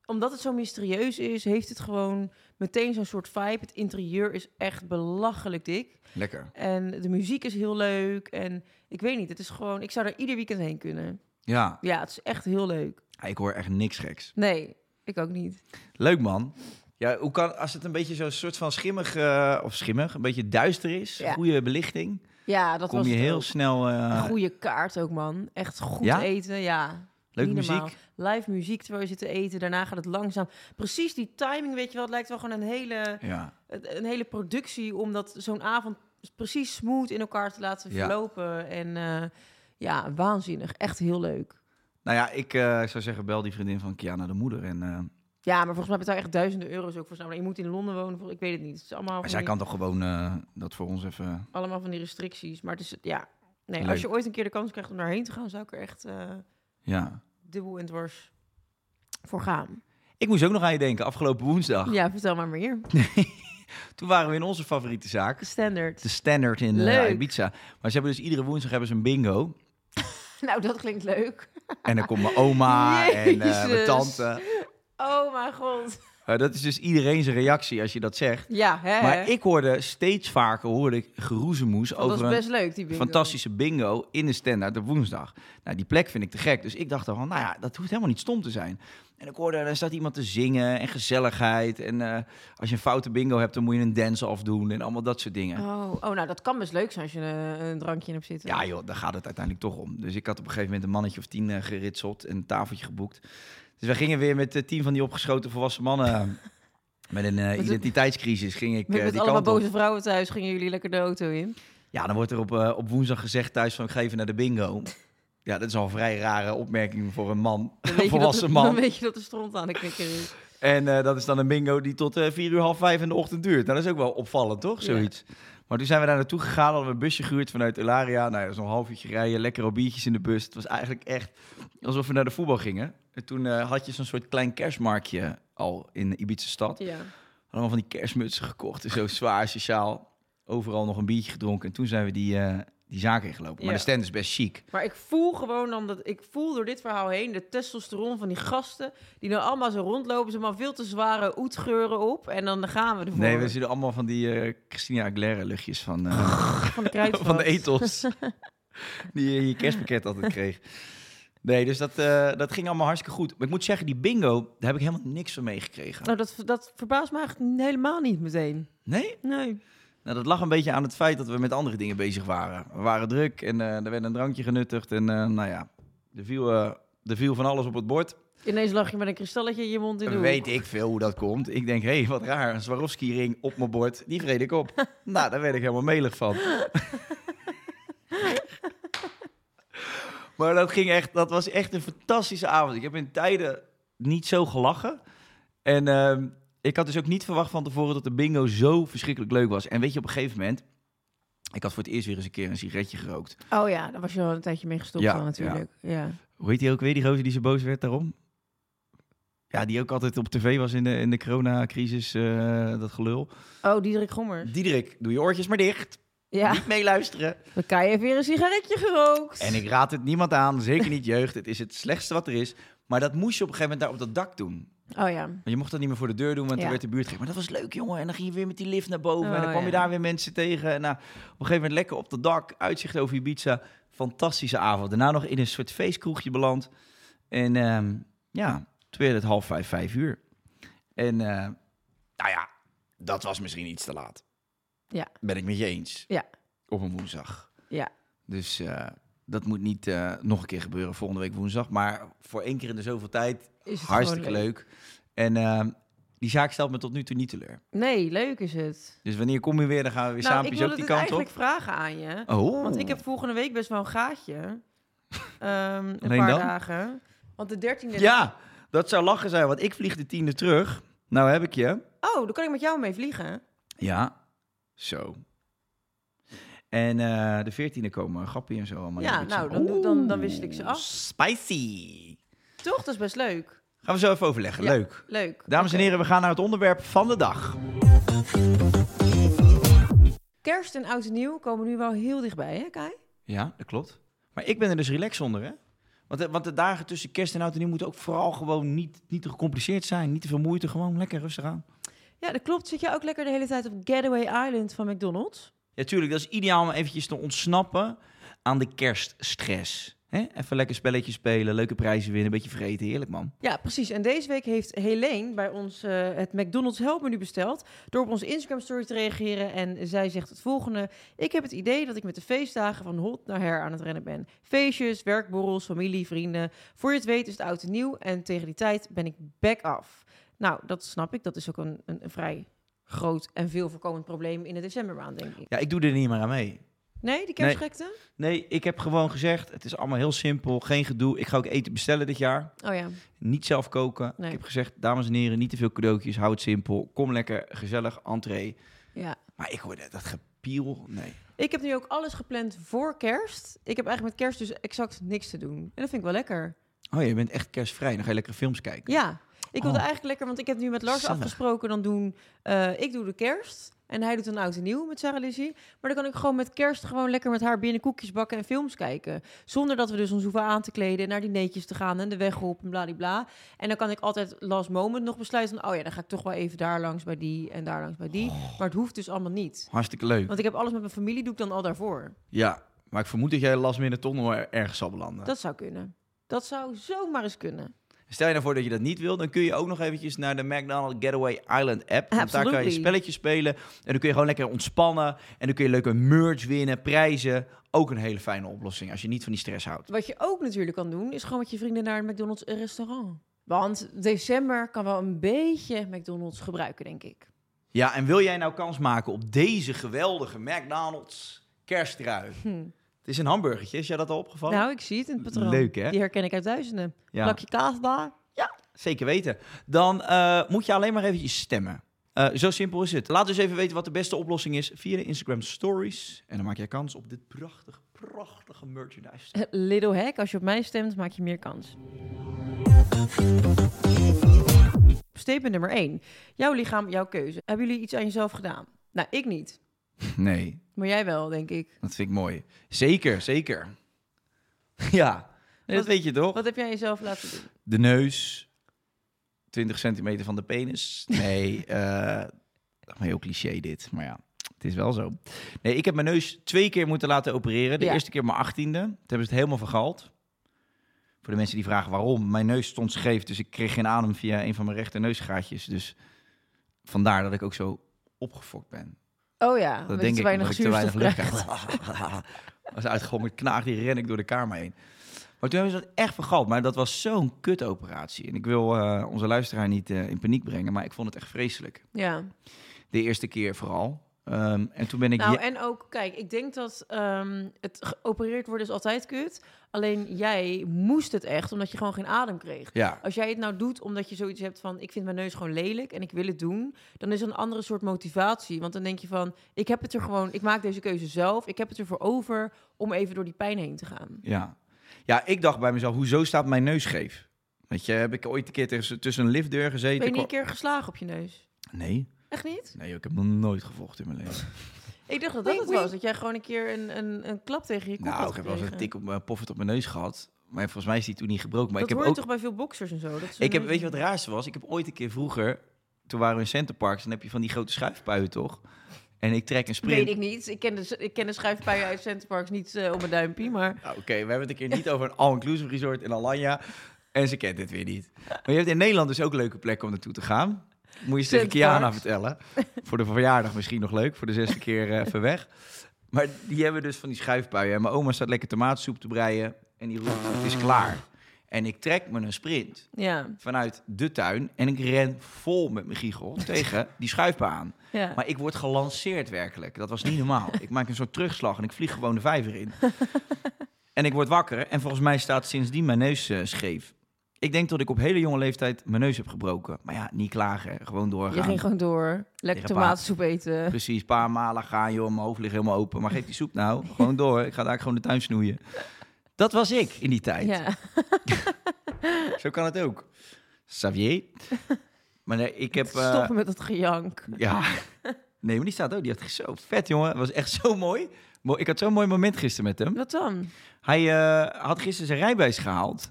Omdat het zo mysterieus is, heeft het gewoon meteen zo'n soort vibe. Het interieur is echt belachelijk dik.
Lekker.
En de muziek is heel leuk. En ik weet niet, het is gewoon... Ik zou er ieder weekend heen kunnen.
Ja,
Ja, het is echt heel leuk.
ik hoor echt niks geks.
Nee, ik ook niet.
Leuk man. Ja, hoe kan, als het een beetje zo'n soort van schimmig, eh, of schimmig, een beetje duister is,
Ja.
goede belichting,
Ja, dat
kom
was
je
het
heel
ook.
snel... eh,
Goede kaart ook, man. Echt goed
Ja?
eten, ja.
leuke
Niet normaal.
muziek.
Live muziek terwijl je zit te eten. Daarna gaat het langzaam. Precies die timing, weet je wel. Het lijkt wel gewoon een hele,
Ja.
een hele productie... om dat zo'n avond precies smooth in elkaar te laten
Ja.
verlopen. En eh, ja, waanzinnig. Echt heel leuk.
Nou ja, ik eh, zou zeggen, bel die vriendin van Kiana de moeder en... eh,
Ja, maar volgens mij betaal je echt duizenden euro's ook voor samen. Je moet in Londen wonen, voor- ik weet het niet. Het is allemaal,
Maar
van
zij
die,
kan toch gewoon eh, dat voor ons even.
allemaal van die restricties. Maar het is, ja... Nee,
Leuk.
als je ooit een keer de kans krijgt om daarheen te gaan... zou ik er echt eh,
Ja.
dubbel en dwars voor gaan.
Ik moest ook nog aan je denken afgelopen woensdag.
Ja, vertel maar meer.
Toen waren we in onze favoriete zaak,
Standaard.
de Standard in eh,
Leuk.
Ibiza. Maar ze hebben dus iedere woensdag hebben ze een bingo.
Nou, dat klinkt leuk.
En dan komt mijn
(laughs)
oma en eh, mijn
Jezus.
tante.
Oh mijn god.
Eh, dat is dus iedereen zijn reactie als je dat zegt.
Ja, hè?
Maar ik hoorde steeds vaker hoorde ik geroezemoes
Eh. Oh, dat
over
was
een
best leuk, die bingo.
fantastische bingo in de Standaard op woensdag. Nou, die plek vind ik te gek. Dus ik dacht dan van, nou ja, dat hoeft helemaal niet stom te zijn. En ik hoorde, daar staat iemand te zingen en gezelligheid. En eh, als je een foute bingo hebt, dan moet je een dance-off doen en allemaal dat soort dingen.
Oh, oh, nou dat kan best leuk zijn als je eh, een, een drankje in hebt zitten.
Ja joh, daar gaat het uiteindelijk toch om. Dus ik had op een gegeven moment een mannetje of tien eh, geritseld en een tafeltje geboekt. Dus wij gingen weer met eh, tien van die opgeschoten volwassen
(laughs)
mannen... Met een eh,
een-
identiteitscrisis ging ik
met
eh,
met
die
allemaal
kant op.
boze vrouwen thuis gingen jullie lekker de auto
(laughs)
in.
Ja, dan wordt er op, eh, op woensdag gezegd thuis van ik ga even naar de
(laughs)
bingo. Ja, dat is al een vrij rare opmerking voor een man, (laughs)
Dan
een
weet, je dat,
volwassen
de- (laughs) dan
man.
weet je dat de stront aan de knikker is.
En eh, dat is dan een bingo die tot eh vier uur, half vijf in de ochtend duurt. Nou, dat is ook wel opvallend, toch? Zoiets. Maar toen zijn we daar naartoe gegaan, hadden we een busje gehuurd vanuit Elaria. Nou, ja, dat is nog een half uurtje rijden, lekker al biertjes in de bus. Het was eigenlijk echt alsof we naar de voetbal gingen. En toen eh, had je zo'n soort klein kerstmarktje al in Ibiza stad.
Ja.
Allemaal van die kerstmutsen gekocht. en Zo zwaar, sociaal. Overal nog een biertje gedronken. En toen zijn we die, eh, die zaak ingelopen. Maar
Ja.
de stand is best chic.
Maar ik voel gewoon dan dat ik voel door dit verhaal heen de testosteron van die gasten die nou allemaal zo rondlopen, ze maar veel te zware oetgeuren op en dan gaan we ervoor.
Nee, we zitten allemaal van die eh, Christina Aguilera luchtjes van, eh,
van de
(laughs)
kruidvat.
van de ethos. die je in je kerstpakket altijd kreeg. Nee, dus dat, eh, dat ging allemaal hartstikke goed. Maar ik moet zeggen, die bingo, daar heb ik helemaal niks van meegekregen.
Nou, dat, dat verbaast me eigenlijk helemaal niet meteen.
Nee?
Nee.
Nou, dat lag een beetje aan het feit dat we met andere dingen bezig waren. We waren druk en eh, er werd een drankje genuttigd. En eh, nou ja, er viel, eh, er viel van alles op het bord.
Ineens lag je met een kristalletje in je mond in de hoek.
Weet ik veel hoe dat komt. Ik denk, hé, hey, wat raar. Een Swarovski-ring op mijn bord. Die vreet ik op. nou, daar werd ik helemaal melig van. maar dat, ging echt, dat was echt een fantastische avond. Ik heb in tijden niet zo gelachen. En ehm, ik had dus ook niet verwacht van tevoren dat de bingo zo verschrikkelijk leuk was. En weet je, op een gegeven moment... Ik had voor het eerst weer eens een keer een sigaretje gerookt.
Oh ja, daar was je al een tijdje mee gestopt
Ja,
dan natuurlijk. Ja.
Hoe heet die ook weer, die gozer die zo boos werd daarom? Ja, die ook altijd op tv was in de, in de coronacrisis, eh, dat gelul.
Oh, Diederik Gommers.
Diederik, doe je oortjes maar dicht.
Ja,
Niet meeluisteren.
dan kan je even weer een sigaretje gerookt.
En ik raad het niemand aan, zeker niet jeugd. Het is het slechtste wat er is. Maar dat moest je op een gegeven moment daar op dat dak doen.
Oh ja.
Maar je mocht dat niet meer voor de deur doen, want
Ja.
toen werd de buurt gek. Maar dat was leuk, jongen. En dan ging je weer met die lift naar boven. en dan
Oh,
kwam je
ja.
daar weer mensen tegen. En nou, op een gegeven moment lekker op dat dak. Uitzicht over Ibiza. Fantastische avond. Daarna nog in een soort feestkroegje beland. En ehm, ja, toen werd het half vijf, vijf uur. En eh, nou ja, dat was misschien iets te laat.
Ja.
Ben ik met je eens.
Ja.
Op een woensdag.
Ja.
Dus eh, dat moet niet eh, nog een keer gebeuren volgende week woensdag. Maar voor één keer in de zoveel tijd,
Is het
hartstikke
gewoon
leuk. En eh, die zaak stelt me tot nu toe niet teleur.
Nee, leuk is het.
Dus wanneer kom je weer, dan gaan we weer
nou, ik
saampjes
wilde
ook die
dit
kant op.
eigenlijk vragen aan je.
Oh,
Want ik heb volgende week best wel een
(laughs)
gaatje. Ehm, een
Alleen
paar
dan?
dagen. Want de 13e.
ja, dat zou lachen zijn, want ik vlieg de tiende terug. Nou heb ik je.
Oh, dan kan ik met jou mee vliegen.
Ja, zo. En eh, de veertiende komen Grappie en zo allemaal.
Ja,
in de
nou,
pizza.
dan, dan, dan,
Oeh,
wissel ik ze af.
Spicy.
Toch? Dat is best leuk.
Gaan we zo even overleggen.
Ja,
Leuk.
Leuk.
Dames en heren, we gaan naar het onderwerp van de dag.
Kerst en oud en nieuw komen nu wel heel dichtbij, hè Kai?
Ja, dat klopt. Maar ik ben er dus relaxed onder, hè? Want, de- want de dagen tussen kerst en oud en nieuw moeten ook vooral gewoon niet, niet te gecompliceerd zijn. Niet te veel moeite, gewoon lekker rustig aan.
Ja, dat klopt. Zit jij ook lekker de hele tijd op Getaway Island van McDonald's?
Ja, tuurlijk, dat is ideaal om eventjes te ontsnappen aan de kerststress. Hè? Even lekker spelletjes spelen, leuke prijzen winnen, een beetje vreten. Heerlijk, man.
Ja, precies. En deze week heeft Helene bij ons eh, het McDonald's helpmenu besteld... door op onze Instagram-story te reageren. En zij zegt het volgende. Ik heb het idee dat ik met de feestdagen van hot naar her aan het rennen ben. Feestjes, werkborrels, familie, vrienden. Voor je het weet is het oud en nieuw en tegen die tijd ben ik back af. Nou, dat snap ik. Dat is ook een, een, een vrij groot en veel voorkomend probleem in de decembermaand, denk ik.
Ja, ik doe er niet meer aan mee.
Nee, die
Nee.
kerstgekte?
Nee, ik heb gewoon gezegd, het is allemaal heel simpel, geen gedoe. Ik ga ook eten bestellen dit jaar.
Oh ja.
Niet zelf koken.
Nee.
Ik heb gezegd, dames en heren, niet te veel cadeautjes, hou het simpel. Kom lekker, gezellig, entree.
ja.
Maar ik hoorde dat gepiel. Nee.
Ik heb nu ook alles gepland voor kerst. Ik heb eigenlijk met kerst dus exact niks te doen. En dat vind ik wel lekker.
Oh, je bent echt kerstvrij. Dan ga je lekkere films kijken.
Ja, ik wilde
Oh.
eigenlijk lekker, want ik heb nu met Lars
Gezellig.
afgesproken, dan doen eh, ik doe de kerst. En hij doet een oud en nieuw met Sarah Lizzie. Maar dan kan ik gewoon met kerst gewoon lekker met haar binnen koekjes bakken en films kijken. Zonder dat we dus ons hoeven aan te kleden en naar dineetjes te gaan en de weg op en bladibla. En dan kan ik altijd last moment nog besluiten van, oh ja, dan ga ik toch wel even daar langs bij die en daar langs bij die.
Oh.
Maar het hoeft dus allemaal niet.
Hartstikke leuk.
Want ik heb alles met mijn familie, doe ik dan al daarvoor.
Ja, maar ik vermoed dat jij last minute toch nog er- ergens zal belanden.
Dat zou kunnen. Dat zou zomaar eens kunnen.
Stel je nou voor dat je dat niet wil, dan kun je ook nog eventjes naar de McDonald's Getaway Island app. Want daar kan je
Absolutely.
spelletjes spelen en dan kun je gewoon lekker ontspannen. En dan kun je leuke merch winnen, prijzen. Ook een hele fijne oplossing als je niet van die stress houdt.
Wat je ook natuurlijk kan doen, is gewoon met je vrienden naar een McDonald's restaurant. Want december kan wel een beetje McDonald's gebruiken, denk ik.
Ja, en wil jij nou kans maken op deze geweldige McDonald's kerstrui? Het is een hamburgertje, is jij dat al opgevallen?
Hm. Nou, ik zie het in het patroon.
Oh. Leuk, hè?
Die herken ik uit duizenden.
Ja.
Plakje kaasbaar.
Zeker weten. Dan eh, moet je alleen maar eventjes stemmen. Eh, zo simpel is het. Laat dus even weten wat de beste oplossing is via de Instagram Stories. En dan maak jij kans op dit prachtige, prachtige
(laughs)
merchandise.
(laughs) Little hack, als je op mij stemt, maak je meer kans. Statement nummer 1. Jouw lichaam, jouw keuze. Hebben jullie iets aan jezelf gedaan? Nou, ik niet.
Nee,
Maar jij wel, denk ik.
dat vind ik mooi. Zeker, zeker. (laughs) ja, nee, dat
Wat-
weet je toch?
Wat heb jij jezelf laten doen?
De neus, 20 centimeter van de penis. Nee, (laughs) eh, heel cliché dit, maar ja. Het is wel zo. Nee, ik heb mijn neus twee keer moeten laten opereren. De
Ja.
eerste keer mijn achttiende. Toen hebben ze het helemaal vergald. Voor de mensen die vragen waarom. Mijn neus stond scheef, dus ik kreeg geen adem via een van mijn rechter neusgaatjes. Dus vandaar dat ik ook zo opgefokt ben.
Oh ja, omdat
Dat
je
denk
te
ik,
weinig
omdat ik te weinig
zuurstof
lucht
krijgt.
krijg. (laughs) Als uitgegommerd knaag, die ren ik door de kamer heen. Maar toen hebben ze dat echt vergald. Maar dat was zo'n kutoperatie. En ik wil eh, onze luisteraar niet eh, in paniek brengen, maar ik vond het echt vreselijk.
Ja.
De eerste keer vooral. Ehm, en toen ben ik...
Nou,
ja-
en ook, kijk, ik denk dat ehm, het geopereerd worden is altijd kut. Alleen jij moest het echt, omdat je gewoon geen adem kreeg.
Ja,
Als jij het nou doet omdat je zoiets hebt van... ik vind mijn neus gewoon lelijk en ik wil het doen... dan is er een andere soort motivatie. Want dan denk je van, ik heb het er gewoon... ik maak deze keuze zelf, ik heb het ervoor over... om even door die pijn heen te gaan.
ja. ja, ik dacht bij mezelf, hoezo staat mijn neus scheef? Weet je, heb ik ooit een keer tussen, tussen een liftdeur gezeten?
Ben je niet een
kwam-
keer geslagen op je neus?
Nee,
Echt niet?
nee, ik heb nog nooit gevochten in mijn
(laughs)
leven.
Ik dacht dat dat het was. Dat jij gewoon een keer een, een, een klap tegen je kop
Nou,
had
ik heb wel eens een
gekregen.
tik op mijn poffert op mijn neus gehad. Maar volgens mij is die toen niet gebroken. Maar
Dat
ik
hoor
heb
je
ook...
toch bij veel boxers en zo? Dat ze
Ik heb,
hun-
weet je wat het raarste was? Ik heb ooit een keer vroeger, toen waren we in Center Parks, dan heb je van die grote schuifpuien toch? En ik trek een sprint.
Weet ik niet. Ik ken de, ik ken de schuifpuien uit Centerparks niet eh, op mijn duimpje, maar...
Nou, Oké, we hebben het een keer niet over een all-inclusive resort in Alanya. En ze kent dit weer niet. Maar je hebt in Nederland dus ook leuke plekken om naartoe te gaan. Moet je eens tegen
Center
Kiana
(laughs) Parks.
vertellen. Voor de verjaardag misschien nog leuk, voor de zesde keer eh, even weg. Maar die hebben dus van die schuifbuien. En mijn oma staat lekker tomaatsoep te breien. En die roept, het is klaar. En ik trek me een sprint
Ja.
vanuit de tuin. En ik ren vol met mijn
(laughs)
giegel tegen die schuifbaan.
Ja.
Maar ik word gelanceerd werkelijk. Dat was niet normaal. Ik maak een soort terugslag en ik vlieg gewoon de vijver
(laughs)
in. En ik word wakker en volgens mij staat sindsdien mijn neus eh, scheef. Ik denk dat ik op hele jonge leeftijd mijn neus heb gebroken. Maar ja, niet klagen. Gewoon doorgaan.
Je ging gewoon door. Lekker
Tegen
tomatensoep eten.
Precies, een paar malen gaan, joh. Mijn hoofd ligt helemaal open. Maar geef die soep nou. Gewoon door. Ik ga daar gewoon de tuin snoeien. Dat was ik in die tijd.
Ja.
Zo kan het ook.
(laughs)
Xavier. Maar nee, ik heb... eh,
Stoppen met dat gejank.
Ja. Nee, maar die staat ook. Die had zo vet, jongen. Het was echt zo mooi. Mo- Ik had zo'n mooi moment gisteren met hem.
Wat dan?
Hij eh, had gisteren zijn rijbewijs gehaald.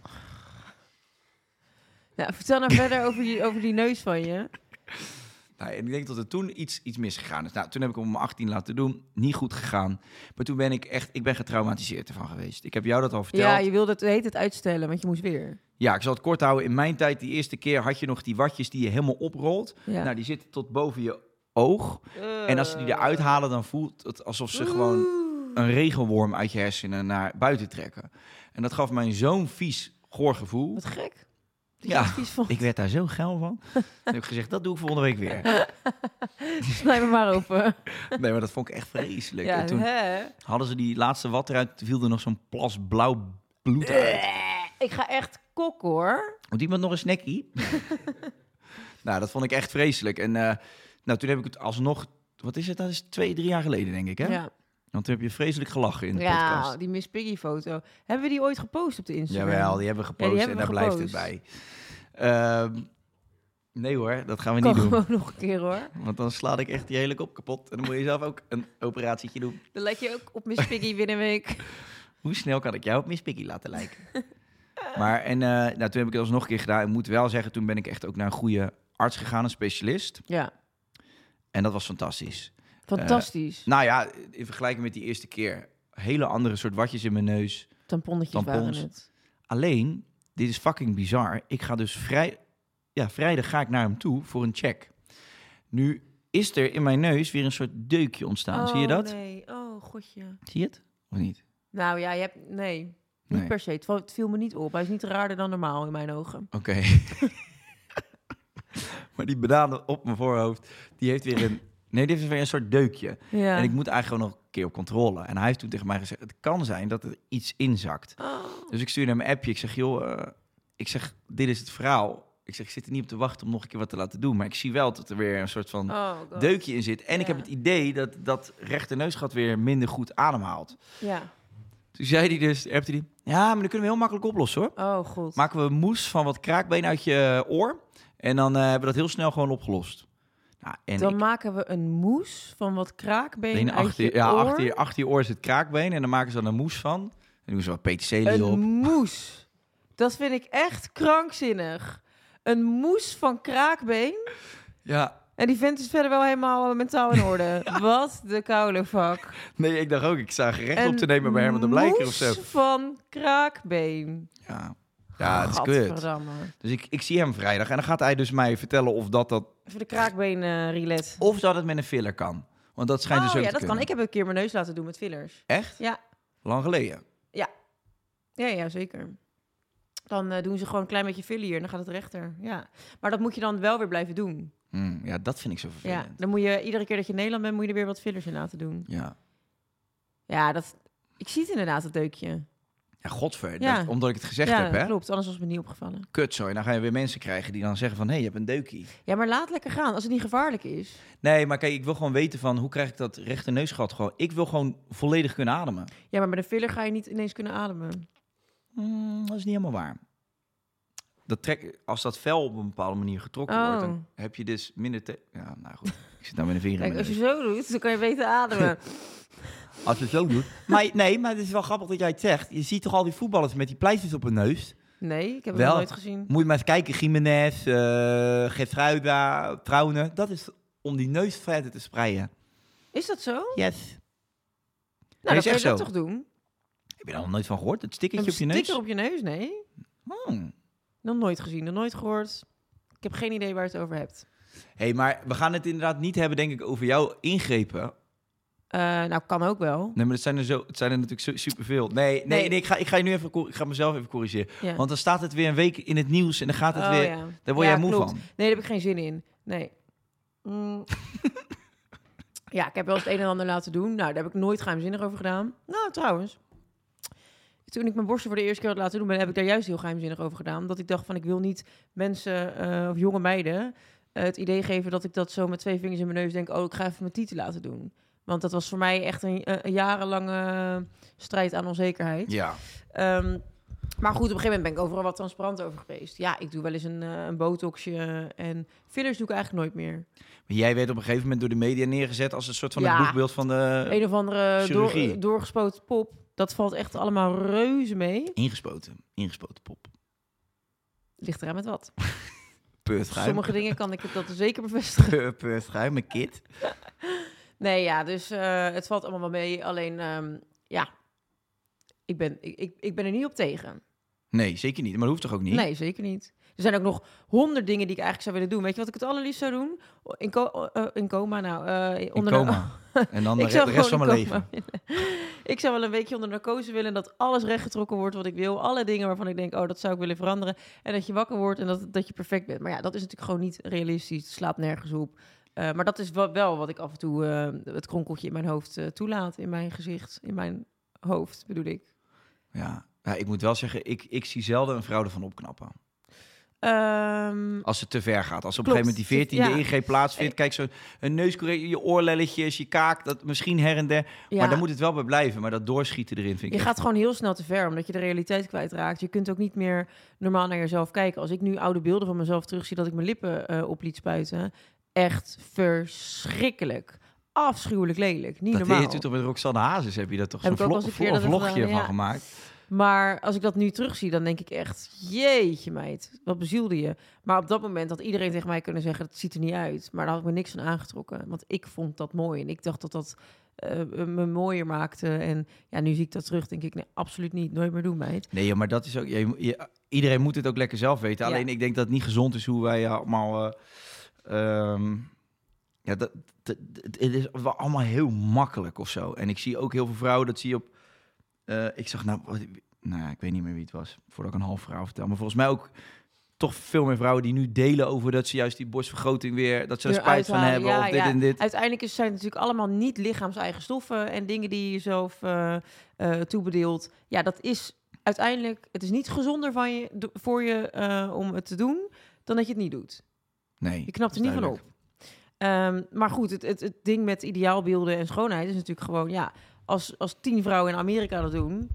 Nou,
(laughs)
vertel nou verder over die, over die neus van je.
Nou, en ik denk dat er toen iets, iets misgegaan is. Nou, toen heb ik hem om mijn 18 laten doen. Niet goed gegaan. Maar toen ben ik echt... Ik ben getraumatiseerd ervan geweest. Ik heb jou dat al verteld.
Ja, je wilde het heet het uitstellen, want je moest weer.
Ja, ik zal het kort houden. In mijn tijd, die eerste keer, had je nog die watjes die je helemaal oprolt.
Ja.
Nou, die zitten tot boven je oog. En als ze die eruit halen, dan voelt het alsof ze gewoon een regenworm uit je hersenen naar buiten trekken. En dat gaf mij zo'n vies, goor gevoel.
Wat gek. Die
Ja.
ja. Vies van.
(laughs) Ik werd daar zo geil
(laughs)
van. Toen heb ik gezegd, dat doe ik volgende week weer.
Snij me maar open.
Nee, maar dat vond (laughs) ik echt vreselijk.
ja,
en toen
hè?
hadden ze die laatste wat eruit, toen viel er nog zo'n plas blauw bloed uit.
Ik ga echt kok hoor.
Moet iemand nog een snackie? (laughs) nou, dat vond ik echt vreselijk. En eh, nou, toen heb ik het alsnog... Wat is het? Dat is twee, drie jaar geleden, denk ik, hè?
Ja,
Want toen heb je vreselijk gelachen in de
ja
podcast.
die Miss Piggy foto. Hebben we die ooit gepost op de Instagram?
Jawel, die hebben we
Ja,
gepost
die hebben
en
we
daar blijft het bij.
gepost.
Ehm, nee hoor, dat gaan we
kan
niet doen.
gewoon (laughs) nog een keer hoor.
Want dan sla ik echt die hele kop kapot. En dan moet je zelf ook een operatietje doen.
Dan lijkt je ook op Miss Piggy binnen een week.
Hoe snel kan ik jou op Miss Piggy laten
(laughs)
lijken? maar en, eh, nou, toen heb ik het alsnog een keer gedaan. Ik moet wel zeggen, toen ben ik echt ook naar een goede arts gegaan, een specialist.
Ja,
En dat was fantastisch.
fantastisch.
Nou ja, in vergelijking met die eerste keer. Hele andere soort watjes in mijn neus.
Tamponnetjes
tampons.
waren het.
Alleen, dit is fucking bizar. Ik ga dus vrij, ja, vrijdag ga ik naar hem toe voor een check. Nu is er in mijn neus weer een soort deukje ontstaan. Ah, Zie je
Oh,
dat?
Nee, oh godje.
Zie je het? Of niet?
Nou ja, je hebt... Nee, niet
Nee.
per se. Het, val- het viel me niet op. Hij is niet raarder dan normaal in mijn ogen.
Oké. (laughs) maar die banaan op mijn voorhoofd, die heeft weer een... Nee, die heeft weer een soort deukje.
Ja.
En ik moet eigenlijk gewoon nog een keer op controle. En hij heeft toen tegen mij gezegd, het kan zijn dat er iets inzakt.
Oh.
Dus ik stuurde hem een appje. Ik zeg, joh, eh, ik zeg, dit is het verhaal. Ik zeg, ik zit er niet op te wachten om nog een keer wat te laten doen. Maar ik zie wel dat er weer een soort van
Oh, God.
deukje in zit. En ik
Ja.
heb het idee dat dat rechterneusgat weer minder goed ademhaalt.
Ja.
Toen zei hij dus, appte hij, ja, maar dat kunnen we heel makkelijk oplossen hoor.
Oh god.
Maken we moes van wat kraakbeen uit je oor. En dan eh, hebben we dat heel snel gewoon opgelost. Nou, en
dan
ik-
maken we een moes van wat kraakbeen
Benen
uit
achter,
je
je, ja,
oor.
achter, je, achter je oor zit kraakbeen en dan maken ze dan een moes van. En doen ze wat peterselie
Een
op.
moes. Dat vind ik echt krankzinnig. Een moes van kraakbeen.
Ja,
En die vent is verder wel helemaal eh, mentaal
(laughs)
in orde. Wat de koude vak.
nee, ik dacht ook, ik zag recht op
Een
te nemen bij Herman de Blijker of zo.
moes van kraakbeen.
Ja, ja het Ah, is kut.
Gadverdamme.
Dus ik, ik zie hem vrijdag en dan gaat hij dus mij vertellen of dat, dat,
Even de kraakbeen eh relet.
of dat het met een filler kan. Want dat schijnt
Oh
dus ook
ja,
te
dat kan.
kunnen.
Ik heb een keer mijn neus laten doen met fillers.
Echt?
Ja,
Lang geleden.
ja. Ja, ja zeker. Dan eh, doen ze gewoon een klein beetje filler hier en dan gaat het rechter. Ja. Maar dat moet je dan wel weer blijven doen.
Hm, ja, dat vind ik zo
Ja,
vervelend. Ja.
dan moet je iedere keer dat je in Nederland bent, moet je er weer wat fillers in laten doen.
Ja.
Ja, dat... Ik zie het inderdaad, dat deukje.
godver.
Ja.
dat- omdat ik het gezegd
ja,
heb, hè?
klopt. Anders was het me niet opgevallen.
Kut, zo. En dan ga je weer mensen krijgen die dan zeggen van... hé, hey, je hebt een deukie.
Ja, maar laat lekker gaan als het niet gevaarlijk is.
Nee, maar kijk, ik wil gewoon weten van... hoe krijg ik dat rechte neusgat gewoon... Ik wil gewoon volledig kunnen ademen.
Ja, maar met een filler ga je niet ineens kunnen ademen.
Mm, dat is niet helemaal waar. Dat trek, als dat vel op een bepaalde manier getrokken
Oh.
wordt, dan heb je dus minder... te- ja, nou goed. (laughs) Ik zit nou met een vinger in
Kijk,
mijn
als je
neus.
zo doet, dan kan je beter ademen.
Als je het zo
(laughs)
doet. Maar, nee, maar het is wel grappig dat jij het zegt. Je ziet toch al die voetballers met die pleisters op hun neus?
Nee, ik heb het
Wel.
nog nooit gezien.
Moet je maar eens kijken. Jiménez, eh Gertruida, Trouwne. Dat is om die neus verder te spreiden.
Is dat zo? Nou,
Yes.
dan
is
kan
echt
je
zo.
dat toch doen?
Heb je daar nog nooit van gehoord? Het
Een
stikkertje op je neus?
sticker op je neus? Nee.
Hmm.
Nog nooit gezien, nog nooit gehoord. Ik heb geen idee waar je het over hebt.
Hé, hey, maar we gaan het inderdaad niet hebben, denk ik, over jouw ingrepen
Eh, nou, kan ook wel.
Nee, maar het zijn er, zo, het zijn er natuurlijk zo- superveel. Nee, nee,
Nee.
nee. ik, ga, ik ga je nu even, cor- ik ga mezelf even corrigeren.
Ja.
Want dan staat het weer een week in het nieuws en dan gaat het
Oh,
weer...
ja.
Daar word
Ja,
jij moe
klopt.
van.
Nee, daar heb ik geen zin in. Nee. Mm. (laughs) ja, ik heb wel eens het een en ander laten doen. Nou, daar heb ik nooit geheimzinnig over gedaan. Nou, trouwens. Toen ik mijn borsten voor de eerste keer had laten doen, ben, heb ik daar juist heel geheimzinnig over gedaan. Omdat ik dacht van, ik wil niet mensen eh, of jonge meiden eh, het idee geven dat ik dat zo met twee vingers in mijn neus denk. Oh, ik ga even mijn titel laten doen. Want dat was voor mij echt een, eh, een jarenlange strijd aan onzekerheid.
Ja.
Ehm, maar goed, op een gegeven moment ben ik overal wat transparant over geweest. Ja, ik doe wel eens een, eh, een botoxje en fillers doe ik eigenlijk nooit meer.
Maar jij werd op een gegeven moment door de media neergezet als een soort van
Ja.
het boekbeeld van de...
een of andere
chirurgie.
door, doorgespoten pop, dat valt echt allemaal reuze mee.
Ingespoten. Ingespoten pop.
Ligt eraan met wat.
Peurtgeheim. (laughs)
Sommige dingen kan ik dat zeker bevestigen.
Peurtgeheim, mijn kid.
Nee, ja, dus eh, het valt allemaal wel mee. Alleen, ehm, ja, ik ben, ik, ik, ik ben er niet op tegen.
Nee, zeker niet. Maar dat hoeft toch ook niet?
Nee, zeker niet. Er zijn ook nog honderd dingen die ik eigenlijk zou willen doen. Weet je wat ik het allerliefst zou doen? In, co- eh, in coma, nou, eh,
In
onder de-
coma. En dan de,
(laughs) Ik
re-
zou
de rest van
gewoon
mijn
in
leven.
coma willen. (laughs) ik zou wel een weekje onder narcose willen. Dat alles rechtgetrokken wordt wat ik wil. Alle dingen waarvan ik denk, oh, dat zou ik willen veranderen. En dat je wakker wordt en dat, dat je perfect bent. Maar ja, dat is natuurlijk gewoon niet realistisch. Het slaat nergens op. Eh, maar dat is wel, wel wat ik af en toe eh, het kronkeltje in mijn hoofd eh, toelaat. In mijn gezicht, in mijn hoofd bedoel ik.
Ja. Ja, ik moet wel zeggen, ik, ik zie zelden een vrouw ervan opknappen.
Ehm,
Als het te ver gaat. Als op
Klopt.
een gegeven moment die 14e
Ja.
ingreep plaatsvindt. Kijk, zo een neuscorrectie, je oorlelletjes, je kaak, dat misschien her en der.
ja,
Maar daar moet het wel bij blijven. Maar dat doorschieten erin vind ik.
je
echt-
gaat gewoon heel snel te ver, omdat je de realiteit kwijtraakt. Je kunt ook niet meer normaal naar jezelf kijken. Als ik nu oude beelden van mezelf terugzie dat ik mijn lippen eh, op liet spuiten. Echt verschrikkelijk. Afschuwelijk lelijk. Niet
dat deed
normaal.
je toen toch met Roxanne Hazes, heb je dat toch
Heb
zo'n
ik ook
vlog,
wel eens een keer
een
dat
vlogje
gedaan,
van
ja.
gemaakt?
Maar als ik dat nu terugzie, dan denk ik echt... Jeetje meid, wat bezielde je. Maar op dat moment had iedereen tegen mij kunnen zeggen... dat ziet er niet uit. Maar daar had ik me niks van aangetrokken. Want ik vond dat mooi. En ik dacht dat dat eh, me mooier maakte. En ja, nu zie ik dat terug. denk ik, nee, absoluut niet. Nooit meer doen, meid.
Nee, joh, maar dat is ook. Je, je- iedereen moet het ook lekker zelf weten.
Ja.
Alleen ik denk dat het niet gezond is hoe wij allemaal. eh, ehm, ja, dat, dat- dat- het is wel allemaal heel makkelijk of zo. En ik zie ook heel veel vrouwen, dat zie je op. eh, ik zag nou, wat- nou ja, ik weet niet meer wie het was, voordat ik een half verhaal vertel. Maar volgens mij ook toch veel meer vrouwen die nu delen over dat ze juist die borstvergroting weer, dat ze er
Er
spijt van
uithalen,
hebben
ja,
of dit
ja.
en dit.
Uiteindelijk is- zijn het natuurlijk allemaal niet lichaams-eigen stoffen en dingen die je zelf eh, eh, toebedeelt. Ja, dat is uiteindelijk, het is niet gezonder van je, do- voor je eh, om het te doen dan dat je het niet doet.
Nee,
Je knapt er niet van op.
duidelijk.
Ehm, maar goed, het, het, het ding met ideaalbeelden en schoonheid is natuurlijk gewoon, ja, als, als tien vrouwen in Amerika dat doen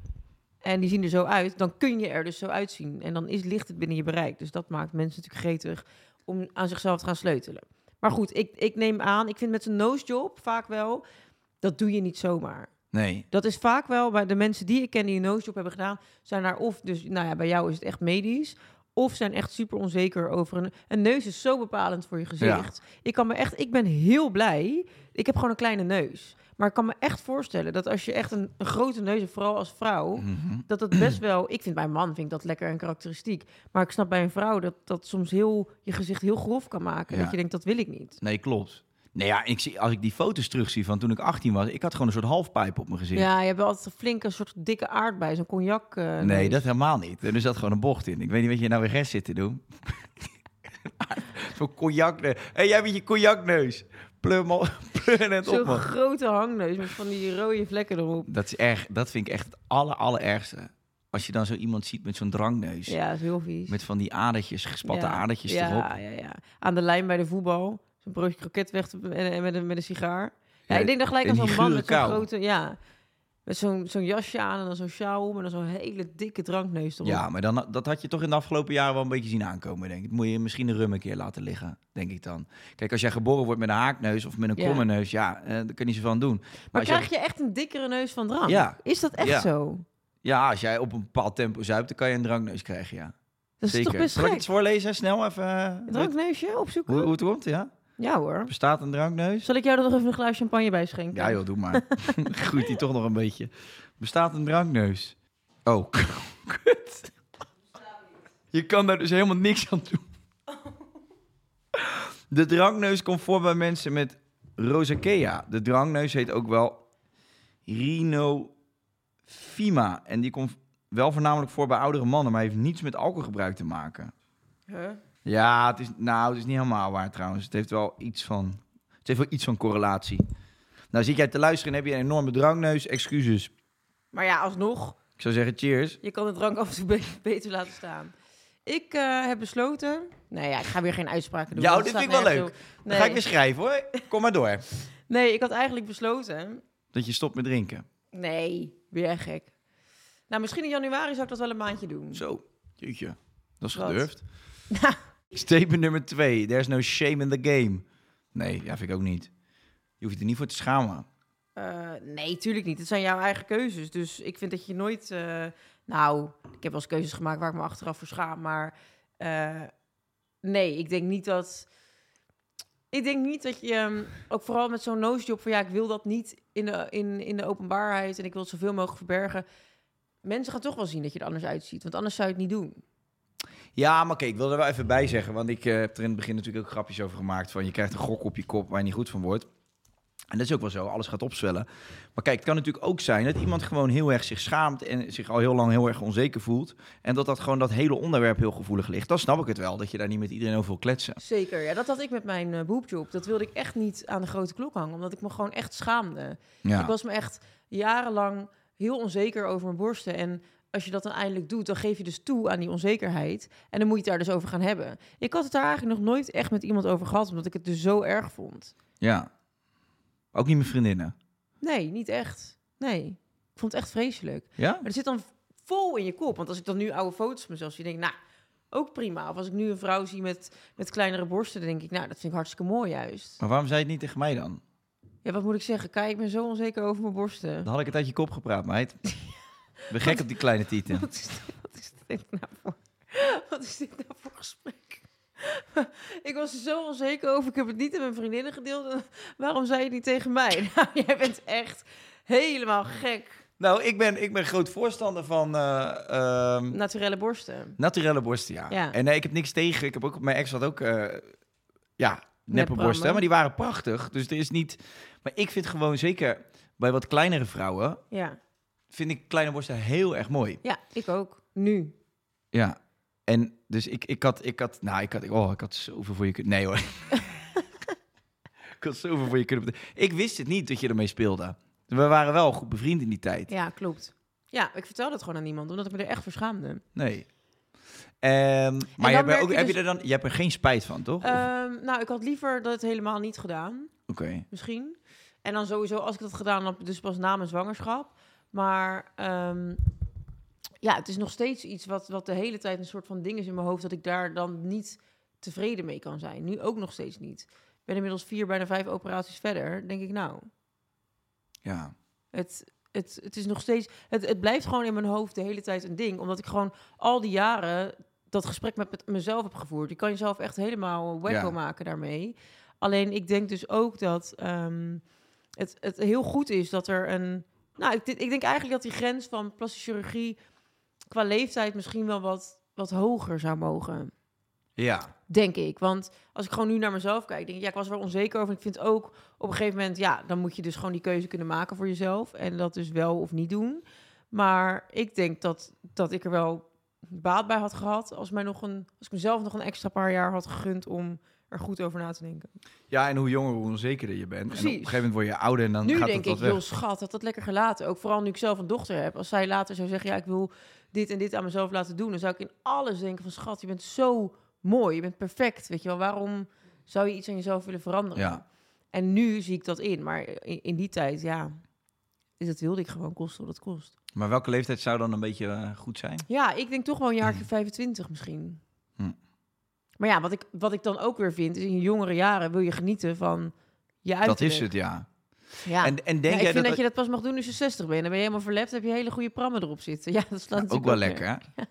en die zien er zo uit, dan kun je er dus zo uitzien. En dan is, ligt het binnen je bereik. Dus dat maakt mensen natuurlijk gretig om aan zichzelf te gaan sleutelen. Maar goed, ik, ik neem aan, ik vind met zo'n nose job vaak wel, dat doe je niet zomaar.
Nee,
Dat is vaak wel bij de mensen die ik ken die een nosejob hebben gedaan, zijn daar of dus, nou ja, bij jou is het echt medisch, of zijn echt super onzeker over een. Een neus is zo bepalend voor je gezicht. Ik kan me echt, ik ben heel blij. Ik heb gewoon een kleine neus, maar ik kan me echt voorstellen dat als je echt een, een grote neus hebt, vooral als vrouw,
Mhm.
dat dat best wel. Ik vind bij een man vind ik dat lekker een karakteristiek, maar ik snap bij een vrouw dat dat soms heel je gezicht heel grof kan maken.
Ja.
Dat je denkt dat wil ik niet.
nee, klopt. Nee, ja, ik zie, als ik die foto's terugzie van toen ik 18 was, ik had gewoon een soort halfpijp op mijn gezicht.
Ja, je hebt wel altijd een flinke soort dikke aardbei, zo'n cognac. eh,
Nee,
neus.
dat helemaal niet. Er zat gewoon een bocht in. Ik weet niet wat je nou weer rest zit te
(laughs)
doen. Zo'n cognacneus. Hé, hey, jij met je cognacneus. Plum, (laughs) al- plum het op,
Zo'n
man.
grote hangneus met van die rode vlekken erop.
Dat, is erg, dat vind ik echt het aller, allerergste. Als je dan zo iemand ziet met zo'n drangneus.
Ja, dat is heel vies.
Met van die adertjes, gespatte
ja.
adertjes
ja,
erop.
Ja, ja, Aan de lijn bij de voetbal. Zo'n broodje kroket weg te- en, en met, een, met een sigaar. Ja,
Ja,
ik denk dan gelijk
en
aan
die
zo'n man
gure
met zo'n
kou.
grote... Ja, met zo'n zo'n jasje aan en dan zo'n sjaal om... en dan zo'n hele dikke drankneus erop.
Ja, maar dan, dat had je toch in de afgelopen jaren wel een beetje zien aankomen, denk ik. Dat moet je misschien een rum een keer laten liggen, denk ik dan. Kijk, als jij geboren wordt met een haakneus of met een
Ja.
kromme neus, ja, eh, daar kun je ze van doen. Maar,
maar
als jij-
krijg je echt een dikkere neus van drank?
Ja.
Is dat echt
Ja.
zo?
Ja, als jij op een bepaald tempo zuipt, dan kan je een drangneus krijgen, ja.
Dat is
Zeker.
toch best
Zal ik
gek?
het voorlezen? Snel even. eh,
Een drankneusje opzoeken?
Hoe, hoe het komt, ja?
Ja hoor.
Bestaat een drankneus?
Zal ik jou er nog even een glaas champagne bij schenken?
Ja joh, doe maar. (laughs) Groeit die toch nog een beetje. Bestaat een drankneus? Oh, (laughs) kut. Je kan daar dus helemaal niks aan doen. De drankneus komt voor bij mensen met rosacea. De drankneus heet ook wel rinofima. En die komt wel voornamelijk voor bij oudere mannen, maar heeft niets met alcoholgebruik te maken.
Huh?
Ja, het is, nou, het is niet helemaal waar trouwens. Het heeft wel iets van, het heeft wel iets van correlatie. Nou, zit jij te luisteren en heb je een enorme drangneus, excuses.
Maar ja, alsnog,
Ik zou zeggen cheers.
je kan de drank af en toe be- (laughs) beter laten staan. Ik eh, heb besloten... Nee, ja, ik ga weer geen uitspraken doen.
Ja,
want
dit
het
vind ik
staat
wel
nergens op.
Dan ga ik weer schrijven hoor. Kom maar door.
Nee, ik had eigenlijk besloten...
Dat je stopt met drinken.
Nee, weer gek. Nou, misschien in januari zou ik dat wel een maandje doen.
Zo, jeetje. Dat is
Wat?
gedurfd. Statement nummer twee. There's no shame in the game. Nee, ja, vind ik ook niet. Je hoeft je er niet voor te schamen.
Eh, nee, tuurlijk niet. Het zijn jouw eigen keuzes. Dus ik vind dat je nooit... eh, nou, ik heb wel eens keuzes gemaakt waar ik me achteraf voor schaam. Maar eh, nee, ik denk niet dat... Ik denk niet dat je... ehm, ook vooral met zo'n nosejob van... Ja, ik wil dat niet in de, in, in de openbaarheid. En ik wil het zoveel mogelijk verbergen. Mensen gaan toch wel zien dat je er anders uitziet. Want anders zou je het niet doen.
Ja, maar oké, ik wil er wel even bij zeggen. Want ik eh, heb er in het begin natuurlijk ook grapjes over gemaakt. Van je krijgt een gok op je kop waar je niet goed van wordt. En dat is ook wel zo, alles gaat opzwellen. Maar kijk, het kan natuurlijk ook zijn dat iemand gewoon heel erg zich schaamt en zich al heel lang heel erg onzeker voelt. En dat dat gewoon dat hele onderwerp heel gevoelig ligt. Dan snap ik het wel, dat je daar niet met iedereen over wil kletsen.
Zeker, ja, dat had ik met mijn eh beroepsjob. Dat wilde ik echt niet aan de grote klok hangen, omdat ik me gewoon echt schaamde.
Ja.
Ik was me echt jarenlang heel onzeker over mijn borsten. En als je dat dan eindelijk doet, dan geef je dus toe aan die onzekerheid. En dan moet je het daar dus over gaan hebben. Ik had het daar eigenlijk nog nooit echt met iemand over gehad, omdat ik het dus zo erg vond.
ja. Ook niet met vriendinnen.
Nee, niet echt. Nee, ik vond het echt vreselijk.
Ja?
Maar er zit dan vol in je kop. Want als ik dan nu oude foto's van mezelf zie, denk ik, nou, ook prima. Of als ik nu een vrouw zie met, met kleinere borsten, dan denk ik, nou, dat vind ik hartstikke mooi juist.
Maar waarom zei je het niet tegen mij dan?
Ja, wat moet ik zeggen? Kijk, ik ben zo onzeker over mijn borsten.
Dan had ik het uit je kop gepraat,
(laughs)
meid. Ik ben gek op die kleine tieten.
Wat is, dit- wat is dit nou voor? Wat is dit nou voor gesprek? Ik was er zo onzeker over. Ik heb het niet met mijn vriendinnen gedeeld. Waarom zei je het niet tegen mij? (laughs) Nou, jij bent echt helemaal gek.
Nou, ik ben, ik ben groot voorstander van eh, ehm,
Naturelle borsten.
Naturelle borsten, ja.
Ja.
En nee, ik heb niks tegen. Ik heb ook, mijn ex had ook, eh, ja, neppe
Neprammen.
borsten. Maar die waren prachtig. Dus er is niet... Maar ik vind gewoon, zeker bij wat kleinere vrouwen...
Ja,
vind ik kleine borsten heel erg mooi.
ja ik ook. Nu.
Ja. En dus ik, ik had... Ik had nou, ik had, oh, ik had zoveel voor je kunnen... Nee hoor. (laughs) ik had zoveel voor je kunnen... bete- Ik wist het niet dat je ermee speelde. We waren wel goed bevriend in die tijd.
Ja, klopt. Ja, ik vertel dat gewoon aan niemand, omdat ik me er echt voor schaamde.
Nee. Ehm, maar je hebt,
merk
er ook,
je
heb je
dus-
er dan... Je hebt er geen spijt van, toch? Of-
Ehm, nou, ik had liever dat helemaal niet gedaan.
Oké.
misschien. En dan sowieso, als ik dat gedaan heb, dus pas na mijn zwangerschap. Maar ehm, ja, het is nog steeds iets wat, wat de hele tijd een soort van ding is in mijn hoofd... dat ik daar dan niet tevreden mee kan zijn. Nu ook nog steeds niet. Ik ben inmiddels vier, bijna vijf operaties verder. denk ik, nou,
Ja.
het, het, het is nog steeds... Het, het blijft gewoon in mijn hoofd de hele tijd een ding. Omdat ik gewoon al die jaren dat gesprek met, met mezelf heb gevoerd. Je kan jezelf echt helemaal wacko
Ja.
maken daarmee. Alleen ik denk dus ook dat ehm, het, het heel goed is dat er een... Nou, ik, denk- ik denk eigenlijk dat die grens van plastische chirurgie... qua leeftijd misschien wel wat, wat hoger zou mogen.
Ja.
Denk ik. Want als ik gewoon nu naar mezelf kijk, denk ik, ja, ik was er wel onzeker over. Ik vind ook op een gegeven moment, ja, dan moet je dus gewoon die keuze kunnen maken voor jezelf. En dat dus wel of niet doen. Maar ik denk dat, dat ik er wel baat bij had gehad als, mij nog een, als ik mezelf nog een extra paar jaar had gegund om er goed over na te denken.
Ja, en hoe jonger, hoe onzekerder je bent. En op een
Precies.
gegeven moment word je ouder en dan
nu
gaat
denk ik,
het wat
joh,
weg.
schat, had dat lekker gelaten. Ook vooral nu ik zelf een dochter heb. Als zij later zou zeggen, ja, ik wil dit en dit aan mezelf laten doen... dan zou ik in alles denken van, schat, je bent zo mooi. Je bent perfect, weet je wel. Waarom zou je iets aan jezelf willen veranderen?
Ja.
En nu zie ik dat in. Maar in, in die tijd, ja, is dat wilde ik gewoon kosten wat het kost.
Maar welke leeftijd zou dan een beetje eh, goed zijn?
Ja, ik denk toch wel een
Mm.
jaartje 25 misschien.
Hm.
Maar ja, wat ik, wat ik dan ook weer vind, is in je jongere jaren wil je genieten van je uiterlijk.
Dat is het, ja.
Ja.
En, en
Ja,
denk
Nou, ik
jij
vind dat,
dat...
je dat pas mag doen als je 60 bent. Dan ben je helemaal verlept, heb je hele goede prammen erop zitten. (laughs) Ja, dat slaat
Ja, Nou, ook
natuurlijk
wel
neer.
lekker, hè?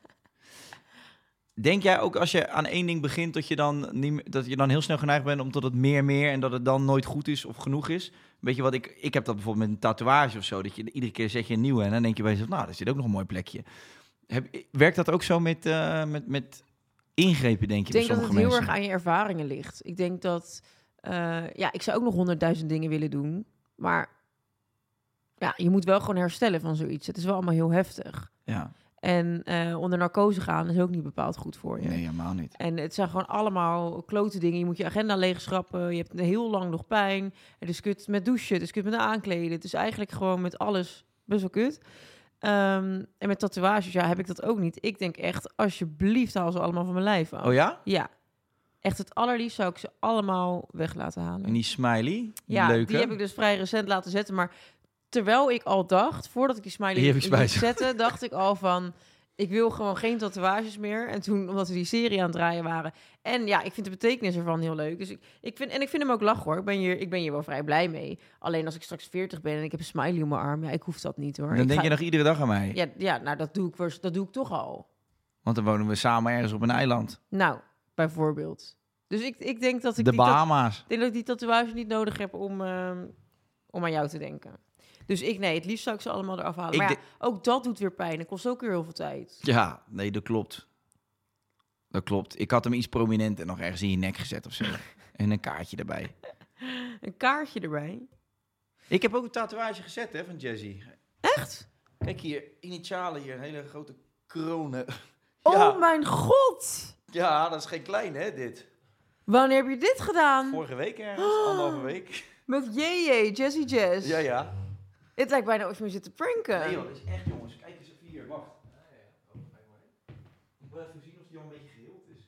Denk jij ook als je aan één ding begint dat je, dan niet, meer- dat je dan heel snel geneigd bent om tot het meer meer en dat het dan nooit goed is of genoeg is? Weet je wat, ik, ik heb dat bijvoorbeeld met een tatoeage of zo, dat je iedere keer zet je een nieuwe en dan denk je bij jezelf, nou, daar zit ook nog een mooi plekje. Heb, werkt dat ook zo met, eh, met, met ingrepen, denk je,
Ik
bij
denk dat het
sommige
heel
mensen?
erg aan je ervaringen ligt. Ik denk dat... eh, ja, ik zou ook nog honderdduizend dingen willen doen. Maar ja, je moet wel gewoon herstellen van zoiets. Het is wel allemaal heel heftig.
Ja.
En eh, onder narcose gaan is ook niet bepaald goed voor je.
Nee, helemaal niet.
En het zijn gewoon allemaal klote dingen. Je moet je agenda leegschrappen. Je hebt heel lang nog pijn. Het is kut met douchen. Het is kut met aankleden. Het is eigenlijk gewoon met alles best wel kut. Ehm, en met tatoeages, ja, heb ik dat ook niet. Ik denk echt, alsjeblieft, haal ze allemaal van mijn lijf af.
Oh ja?
Ja. Echt het allerliefst zou ik ze allemaal weg laten halen.
En die smiley? Die
ja,
leuke?
die heb ik dus vrij recent laten zetten. Maar terwijl ik al dacht, voordat ik die
Die
smiley
heb ik
liet
spijt.
zetten, dacht ik al van... Ik wil gewoon geen tatoeages meer. En toen, omdat we die serie aan het draaien waren. En ja, ik vind de betekenis ervan heel leuk. Dus ik, ik vind, en ik vind hem ook lach hoor. Ik ben, hier, ik ben hier wel vrij blij mee. Alleen als ik straks 40 ben en ik heb een smiley op mijn arm. Ja, ik hoef dat niet hoor.
Dan
Ik
denk
ga-
je nog iedere dag aan mij.
Ja, ja nou dat doe, ik, waarsch- dat doe ik toch al.
Want dan wonen we samen ergens op een eiland.
Nou, bijvoorbeeld. Dus ik, ik denk dat ik
de
die tat-
Bahama's.
Ik denk dat ik die tatoeage niet nodig heb om, ehm, om aan jou te denken. Dus ik, nee, het liefst zou ik ze allemaal eraf halen.
Ik
maar ja,
denk-
ook dat doet weer pijn. Het kost ook weer heel veel tijd.
Ja, nee, dat klopt. Dat klopt. Ik had hem iets prominenter nog ergens in je nek gezet
(laughs)
of zo. en een kaartje erbij.
Een kaartje erbij.
Ik heb ook een tatoeage gezet hè, van Jazzy.
Echt?
Kijk hier, initialen hier, een hele grote kronen.
Oh mijn god!
ja, dat is geen klein hè, dit.
Wanneer heb je dit gedaan?
Vorige week ergens, anderhalve week.
Met JJ, Jazzy Jazz.
Ja, ja.
Het lijkt bijna of je me zit te pranken.
Nee joh, dat is echt jongens. Kijk eens even hier, wacht. Ik wil even zien of die al een beetje geheeld is.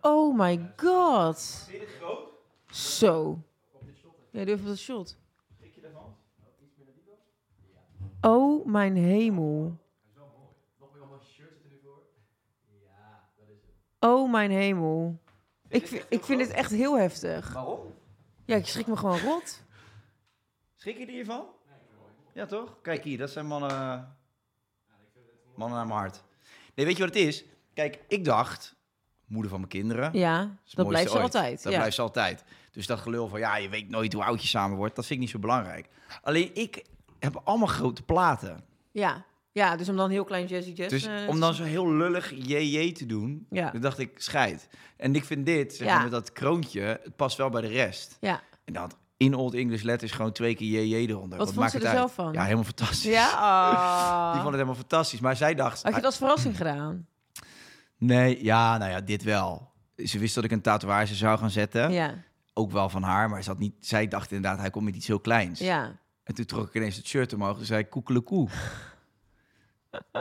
oh my god.
Vind je dit groot?
Zo. Ja, doe even dat shot.
Schrik je Nou, daarvan?
Oh mijn hemel. Oh mijn hemel. Ik, vind- ik vind dit echt heel heftig.
Waarom?
Ja, ik schrik me gewoon rot.
Schrik je er hiervan? Ja, toch? Kijk hier, dat zijn mannen... Mannen naar mijn hart. Nee, weet je wat het is? Kijk, ik dacht... Moeder van mijn kinderen.
Ja,
is het
dat
mooiste
blijft ze
ooit.
altijd.
Dat
ja.
blijft ze altijd. Dus dat gelul van, ja, je weet nooit hoe oud je samen wordt. Dat vind ik niet zo belangrijk. Alleen, ik heb allemaal grote platen.
ja. ja, dus om dan heel klein Jazzy Jazz...
Dus
eh,
om dan zo heel lullig JJ te doen,
Ja.
dan dacht ik, scheid. En ik vind dit, zeg
Ja.
maar, met dat kroontje, het past wel bij de rest.
Ja.
En dan in Old English letters gewoon twee keer JJ eronder.
vond
maakt
ze
het
er
uit?
zelf van?
Ja, helemaal fantastisch.
Ja?
(laughs) Die vond
Ah.
het helemaal fantastisch. Maar zij dacht... ah,
Had je het als verrassing gedaan?
Nee, ja, nou ja, dit wel. Ze wist dat ik een tatoeage zou gaan zetten.
Ja,
Ook wel van haar, maar ze had niet, zij dacht inderdaad, hij komt met iets heel kleins.
ja.
En toen trok ik ineens het shirt omhoog en zei ik, koekelekoe. (laughs)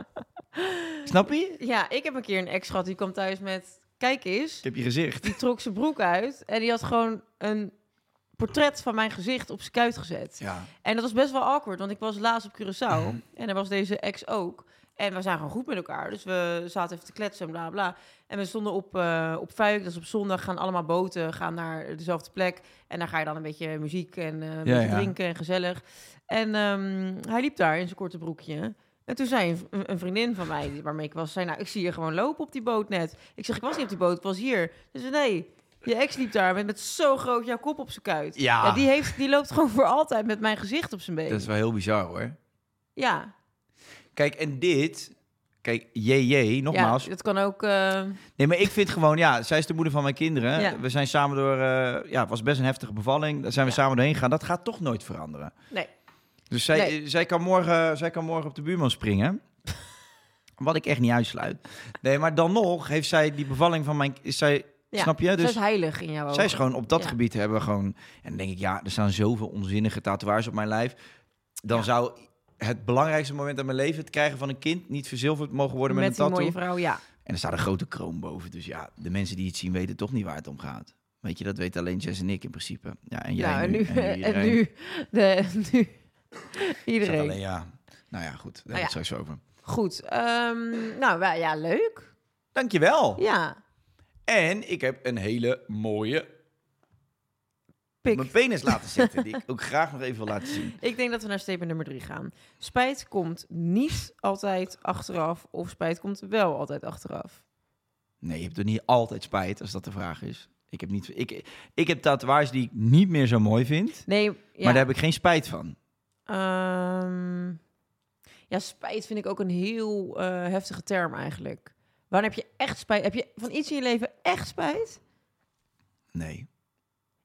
Snap je?
Ja, ik heb een keer een ex gehad die kwam thuis met... Kijk eens,
Ik heb je gezicht.
die trok zijn broek uit en die had gewoon een portret van mijn gezicht op zijn kuit gezet.
Ja.
En dat was best wel awkward, want ik was laatst op Curaçao
Mhm.
en daar was deze ex ook. En we zijn gewoon goed met elkaar, dus we zaten even te kletsen en bla bla. En we stonden op, eh op Fuik, dat is op zondag, gaan allemaal boten, gaan naar dezelfde plek. En daar ga je dan een beetje muziek en eh, een beetje
ja.
drinken en gezellig. En ehm, hij liep daar in zijn korte broekje. En toen zei een, een vriendin van mij, die- waarmee ik was, zei nou, ik zie je gewoon lopen op die boot net. Ik zeg, ik was niet op die boot, ik was hier. Ze zei, nee, je ex liep daar met, met zo groot jouw kop op zijn kuit.
Ja.
die, heeft, die loopt gewoon voor altijd met mijn gezicht op zijn been.
Dat is wel heel bizar hoor.
Ja,
Kijk, en dit... Kijk, JJ,
ja,
nogmaals.
dat kan ook... eh,
Nee, maar ik vind gewoon, ja, zij is de moeder van mijn kinderen.
Ja.
We zijn samen door, eh, ja, het was best een heftige bevalling. Daar zijn we
Ja.
samen doorheen gegaan. Dat gaat toch nooit veranderen.
nee,
Dus zij,
Nee.
eh, zij, kan morgen, zij kan morgen op de buurman springen. Wat ik echt niet uitsluit. Nee, maar dan nog heeft zij die bevalling van mijn... Is zij,
ja.
Snap je?
Zij
Dus
is heilig in jouw
zij is
ogen.
gewoon op dat
Ja.
gebied hebben we gewoon... En dan denk ik, ja, er staan zoveel onzinnige tatoeages op mijn lijf. Dan zou het belangrijkste moment uit mijn leven... het krijgen van een kind niet verzilverd mogen worden met,
met
een
die
tattoo.
mooie vrouw, ja.
En er staat een grote kroon boven. Dus ja, de mensen die het zien weten toch niet waar het om gaat. Weet je, dat weten alleen Jess en ik in principe. Ja, en jij
nou,
nu.
(laughs) en nu, en
iedereen.
nu, de, nu
Ik zat
iedereen.
alleen, ja. Nou ja, goed. Daar
Nou
hebben
ja.
we het straks over.
Goed, ehm, nou wij- ja, leuk.
Dankjewel.
Ja,
En ik heb een hele mooie...
pik.
Mijn penis laten
(laughs)
zitten, die ik ook graag nog even wil laten zien.
Ik denk dat we naar statement nummer drie gaan. Spijt komt niet altijd achteraf of spijt komt wel altijd achteraf.
Nee, je hebt er niet altijd spijt, als dat de vraag is. Ik heb, niet, ik, ik heb tatoeages die ik niet meer zo mooi vind,
Nee, ja.
maar daar heb ik geen spijt van.
Ehm, ja, spijt vind ik ook een heel eh, heftige term eigenlijk. Wanneer heb je echt spijt? Heb je van iets in je leven echt spijt?
Nee.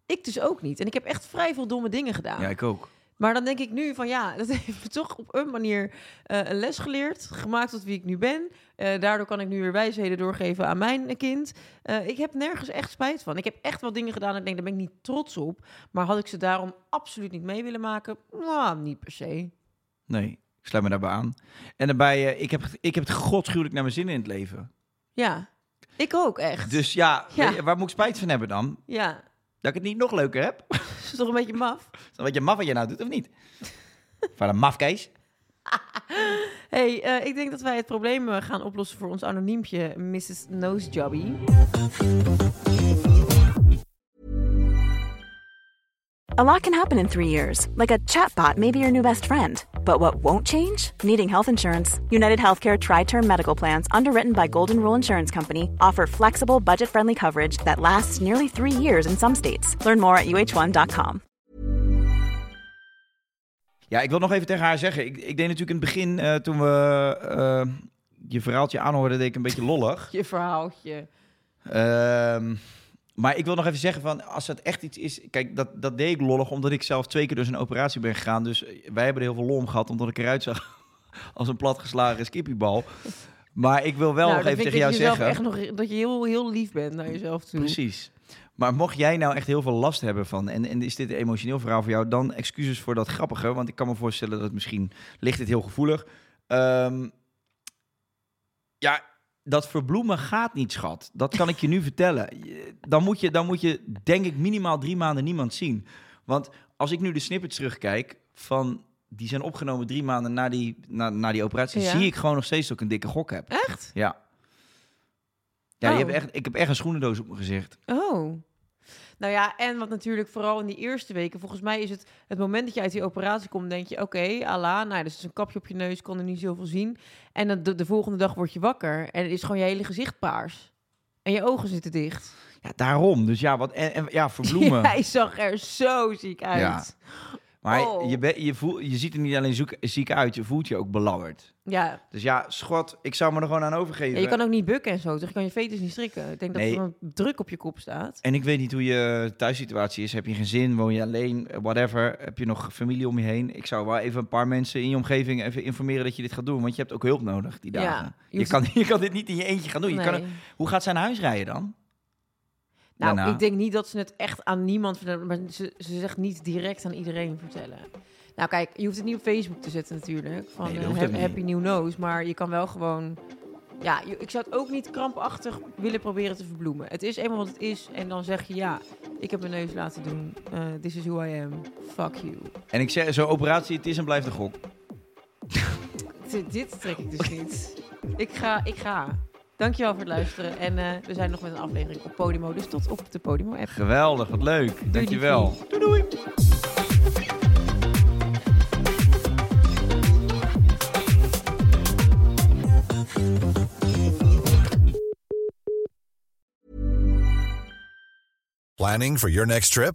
Ik dus ook niet. En ik heb echt vrij veel domme dingen gedaan.
Ja, ik ook.
Maar dan denk ik nu van ja, (laughs) dat heeft me toch op een manier eh, een les geleerd. Gemaakt tot wie ik nu ben. Eh, daardoor kan ik nu weer wijsheden doorgeven aan mijn eh, kind. Eh, ik heb nergens echt spijt van. Ik heb echt wel dingen gedaan en ik denk, daar ben ik niet trots op. Maar had ik ze daarom absoluut niet mee willen maken? Nou, niet per se.
Nee, ik sluit me daarbij aan. En daarbij, eh, ik, heb, ik heb het godschuwelijk naar mijn zin in het leven.
Ja, ik ook echt.
Dus ja,
Ja.
weet je, waar moet ik spijt van hebben dan?
Ja, (laughs)
Dat ik het niet nog leuker heb? (laughs)
dat is toch een beetje maf.
Dan weet je maf wat je nou doet, of
(laughs)
niet? Van een mafkees.
hey, eh, ik denk dat wij het probleem eh, gaan oplossen voor ons anoniempje, Mrs. Nosejobby.
A lot can happen in three years, like a chatbot may be your new best friend. But what won't change? Needing health insurance. United Healthcare Tri Term Medical Plans, underwritten by Golden Rule Insurance Company, offer flexible, budget friendly coverage that lasts nearly three years in some states. Learn more at uh1.com.
Ja, ik wil nog even tegen haar zeggen. Ik, ik deed natuurlijk in het begin, eh, toen we eh, je verhaaltje aanhoorden, deed ik een beetje lollig.
Je verhaaltje.
Ehm, maar ik wil nog even zeggen van, als het echt iets is... Kijk, dat, dat deed ik lollig, omdat ik zelf twee keer door zo'n operatie ben gegaan. Dus eh, wij hebben er heel veel lol om gehad, omdat ik eruit zag (laughs) als een platgeslagen skippiebal. Maar ik wil wel
Nou,
nog
dan
even tegen
vind ik
jou
dat je jezelf
zeggen...
Echt nog, dat je heel, heel lief bent naar jezelf toe.
Precies. Maar mocht jij nou echt heel veel last hebben van, en, en is dit een emotioneel verhaal voor jou, dan excuses voor dat grappige, want ik kan me voorstellen dat het misschien ligt dit heel gevoelig.
Nou,
Ehm, ja, dat verbloemen gaat niet, schat. Dat kan ik je nu (laughs) vertellen. Je- Dan moet je, dan moet je denk ik minimaal drie maanden niemand zien. Want als ik nu de snippets terugkijk van die zijn opgenomen drie maanden na die, na, na die operatie,
Ja.
zie ik gewoon nog steeds dat ik een dikke gok heb.
Echt?
Ja. Ja, je
Oh.
hebt echt, ik heb echt een schoenendoos op mijn gezicht.
Oh. Nou ja, en wat natuurlijk vooral in die eerste weken, volgens mij is het het moment dat je uit die operatie komt, denk je, oké, ala, nou, dus een kapje op je neus, kon er niet zoveel zien. En dan de, de volgende dag word je wakker en is gewoon je hele gezicht paars. En je ogen zitten dicht.
Ja, daarom. Dus ja, wat, en, en- ja
(laughs)
verbloemen.
Hij zag er zo ziek uit.
Maar
Oh.
je, ben, je, voel, je ziet er niet alleen zoek, ziek uit, je voelt je ook belabberd.
Ja.
Dus ja, schot, ik zou me er gewoon aan overgeven.
ja, je kan ook niet bukken en zo, toch? Je kan je veters niet strikken. Ik denk dat
Nee.
er een druk op je kop staat.
En ik weet niet hoe je thuissituatie is. Heb je geen zin? Woon je alleen? Eh, Whatever. Heb je nog familie om je heen? Ik zou wel even een paar mensen in je omgeving even informeren dat je dit gaat doen. Want je hebt ook hulp nodig die
Ja,
dagen.
je
je,
hoeft-
kan, (laughs) je kan dit niet in je eentje gaan doen. Je kan,
Nee.
hoe gaat zij naar huis rijden dan?
Nou,
Daarna.
ik denk niet dat ze het echt aan niemand vertellen, maar ze, ze zegt niet direct aan iedereen vertellen. Nou, kijk, je hoeft het niet op Facebook te zetten natuurlijk. Van
Nee, dat
eh,
hoeft
hap-
ook niet.
happy new nose, maar je kan wel gewoon. Ja, je- ik zou het ook niet krampachtig willen proberen te verbloemen. Het is eenmaal wat het is en dan zeg je ja, ik heb mijn neus laten doen. Eh, this is who I am. Fuck you.
En ik zeg, zo'n operatie, het is en blijft een gok.
Dit, dit trek ik dus niet. Ik ga, ik ga. Dankjewel voor het luisteren en eh, we zijn nog met een aflevering op Podimo, dus tot op de Podimo-app.
Geweldig, wat leuk. Dankjewel.
Doei doei.
Planning for your next trip?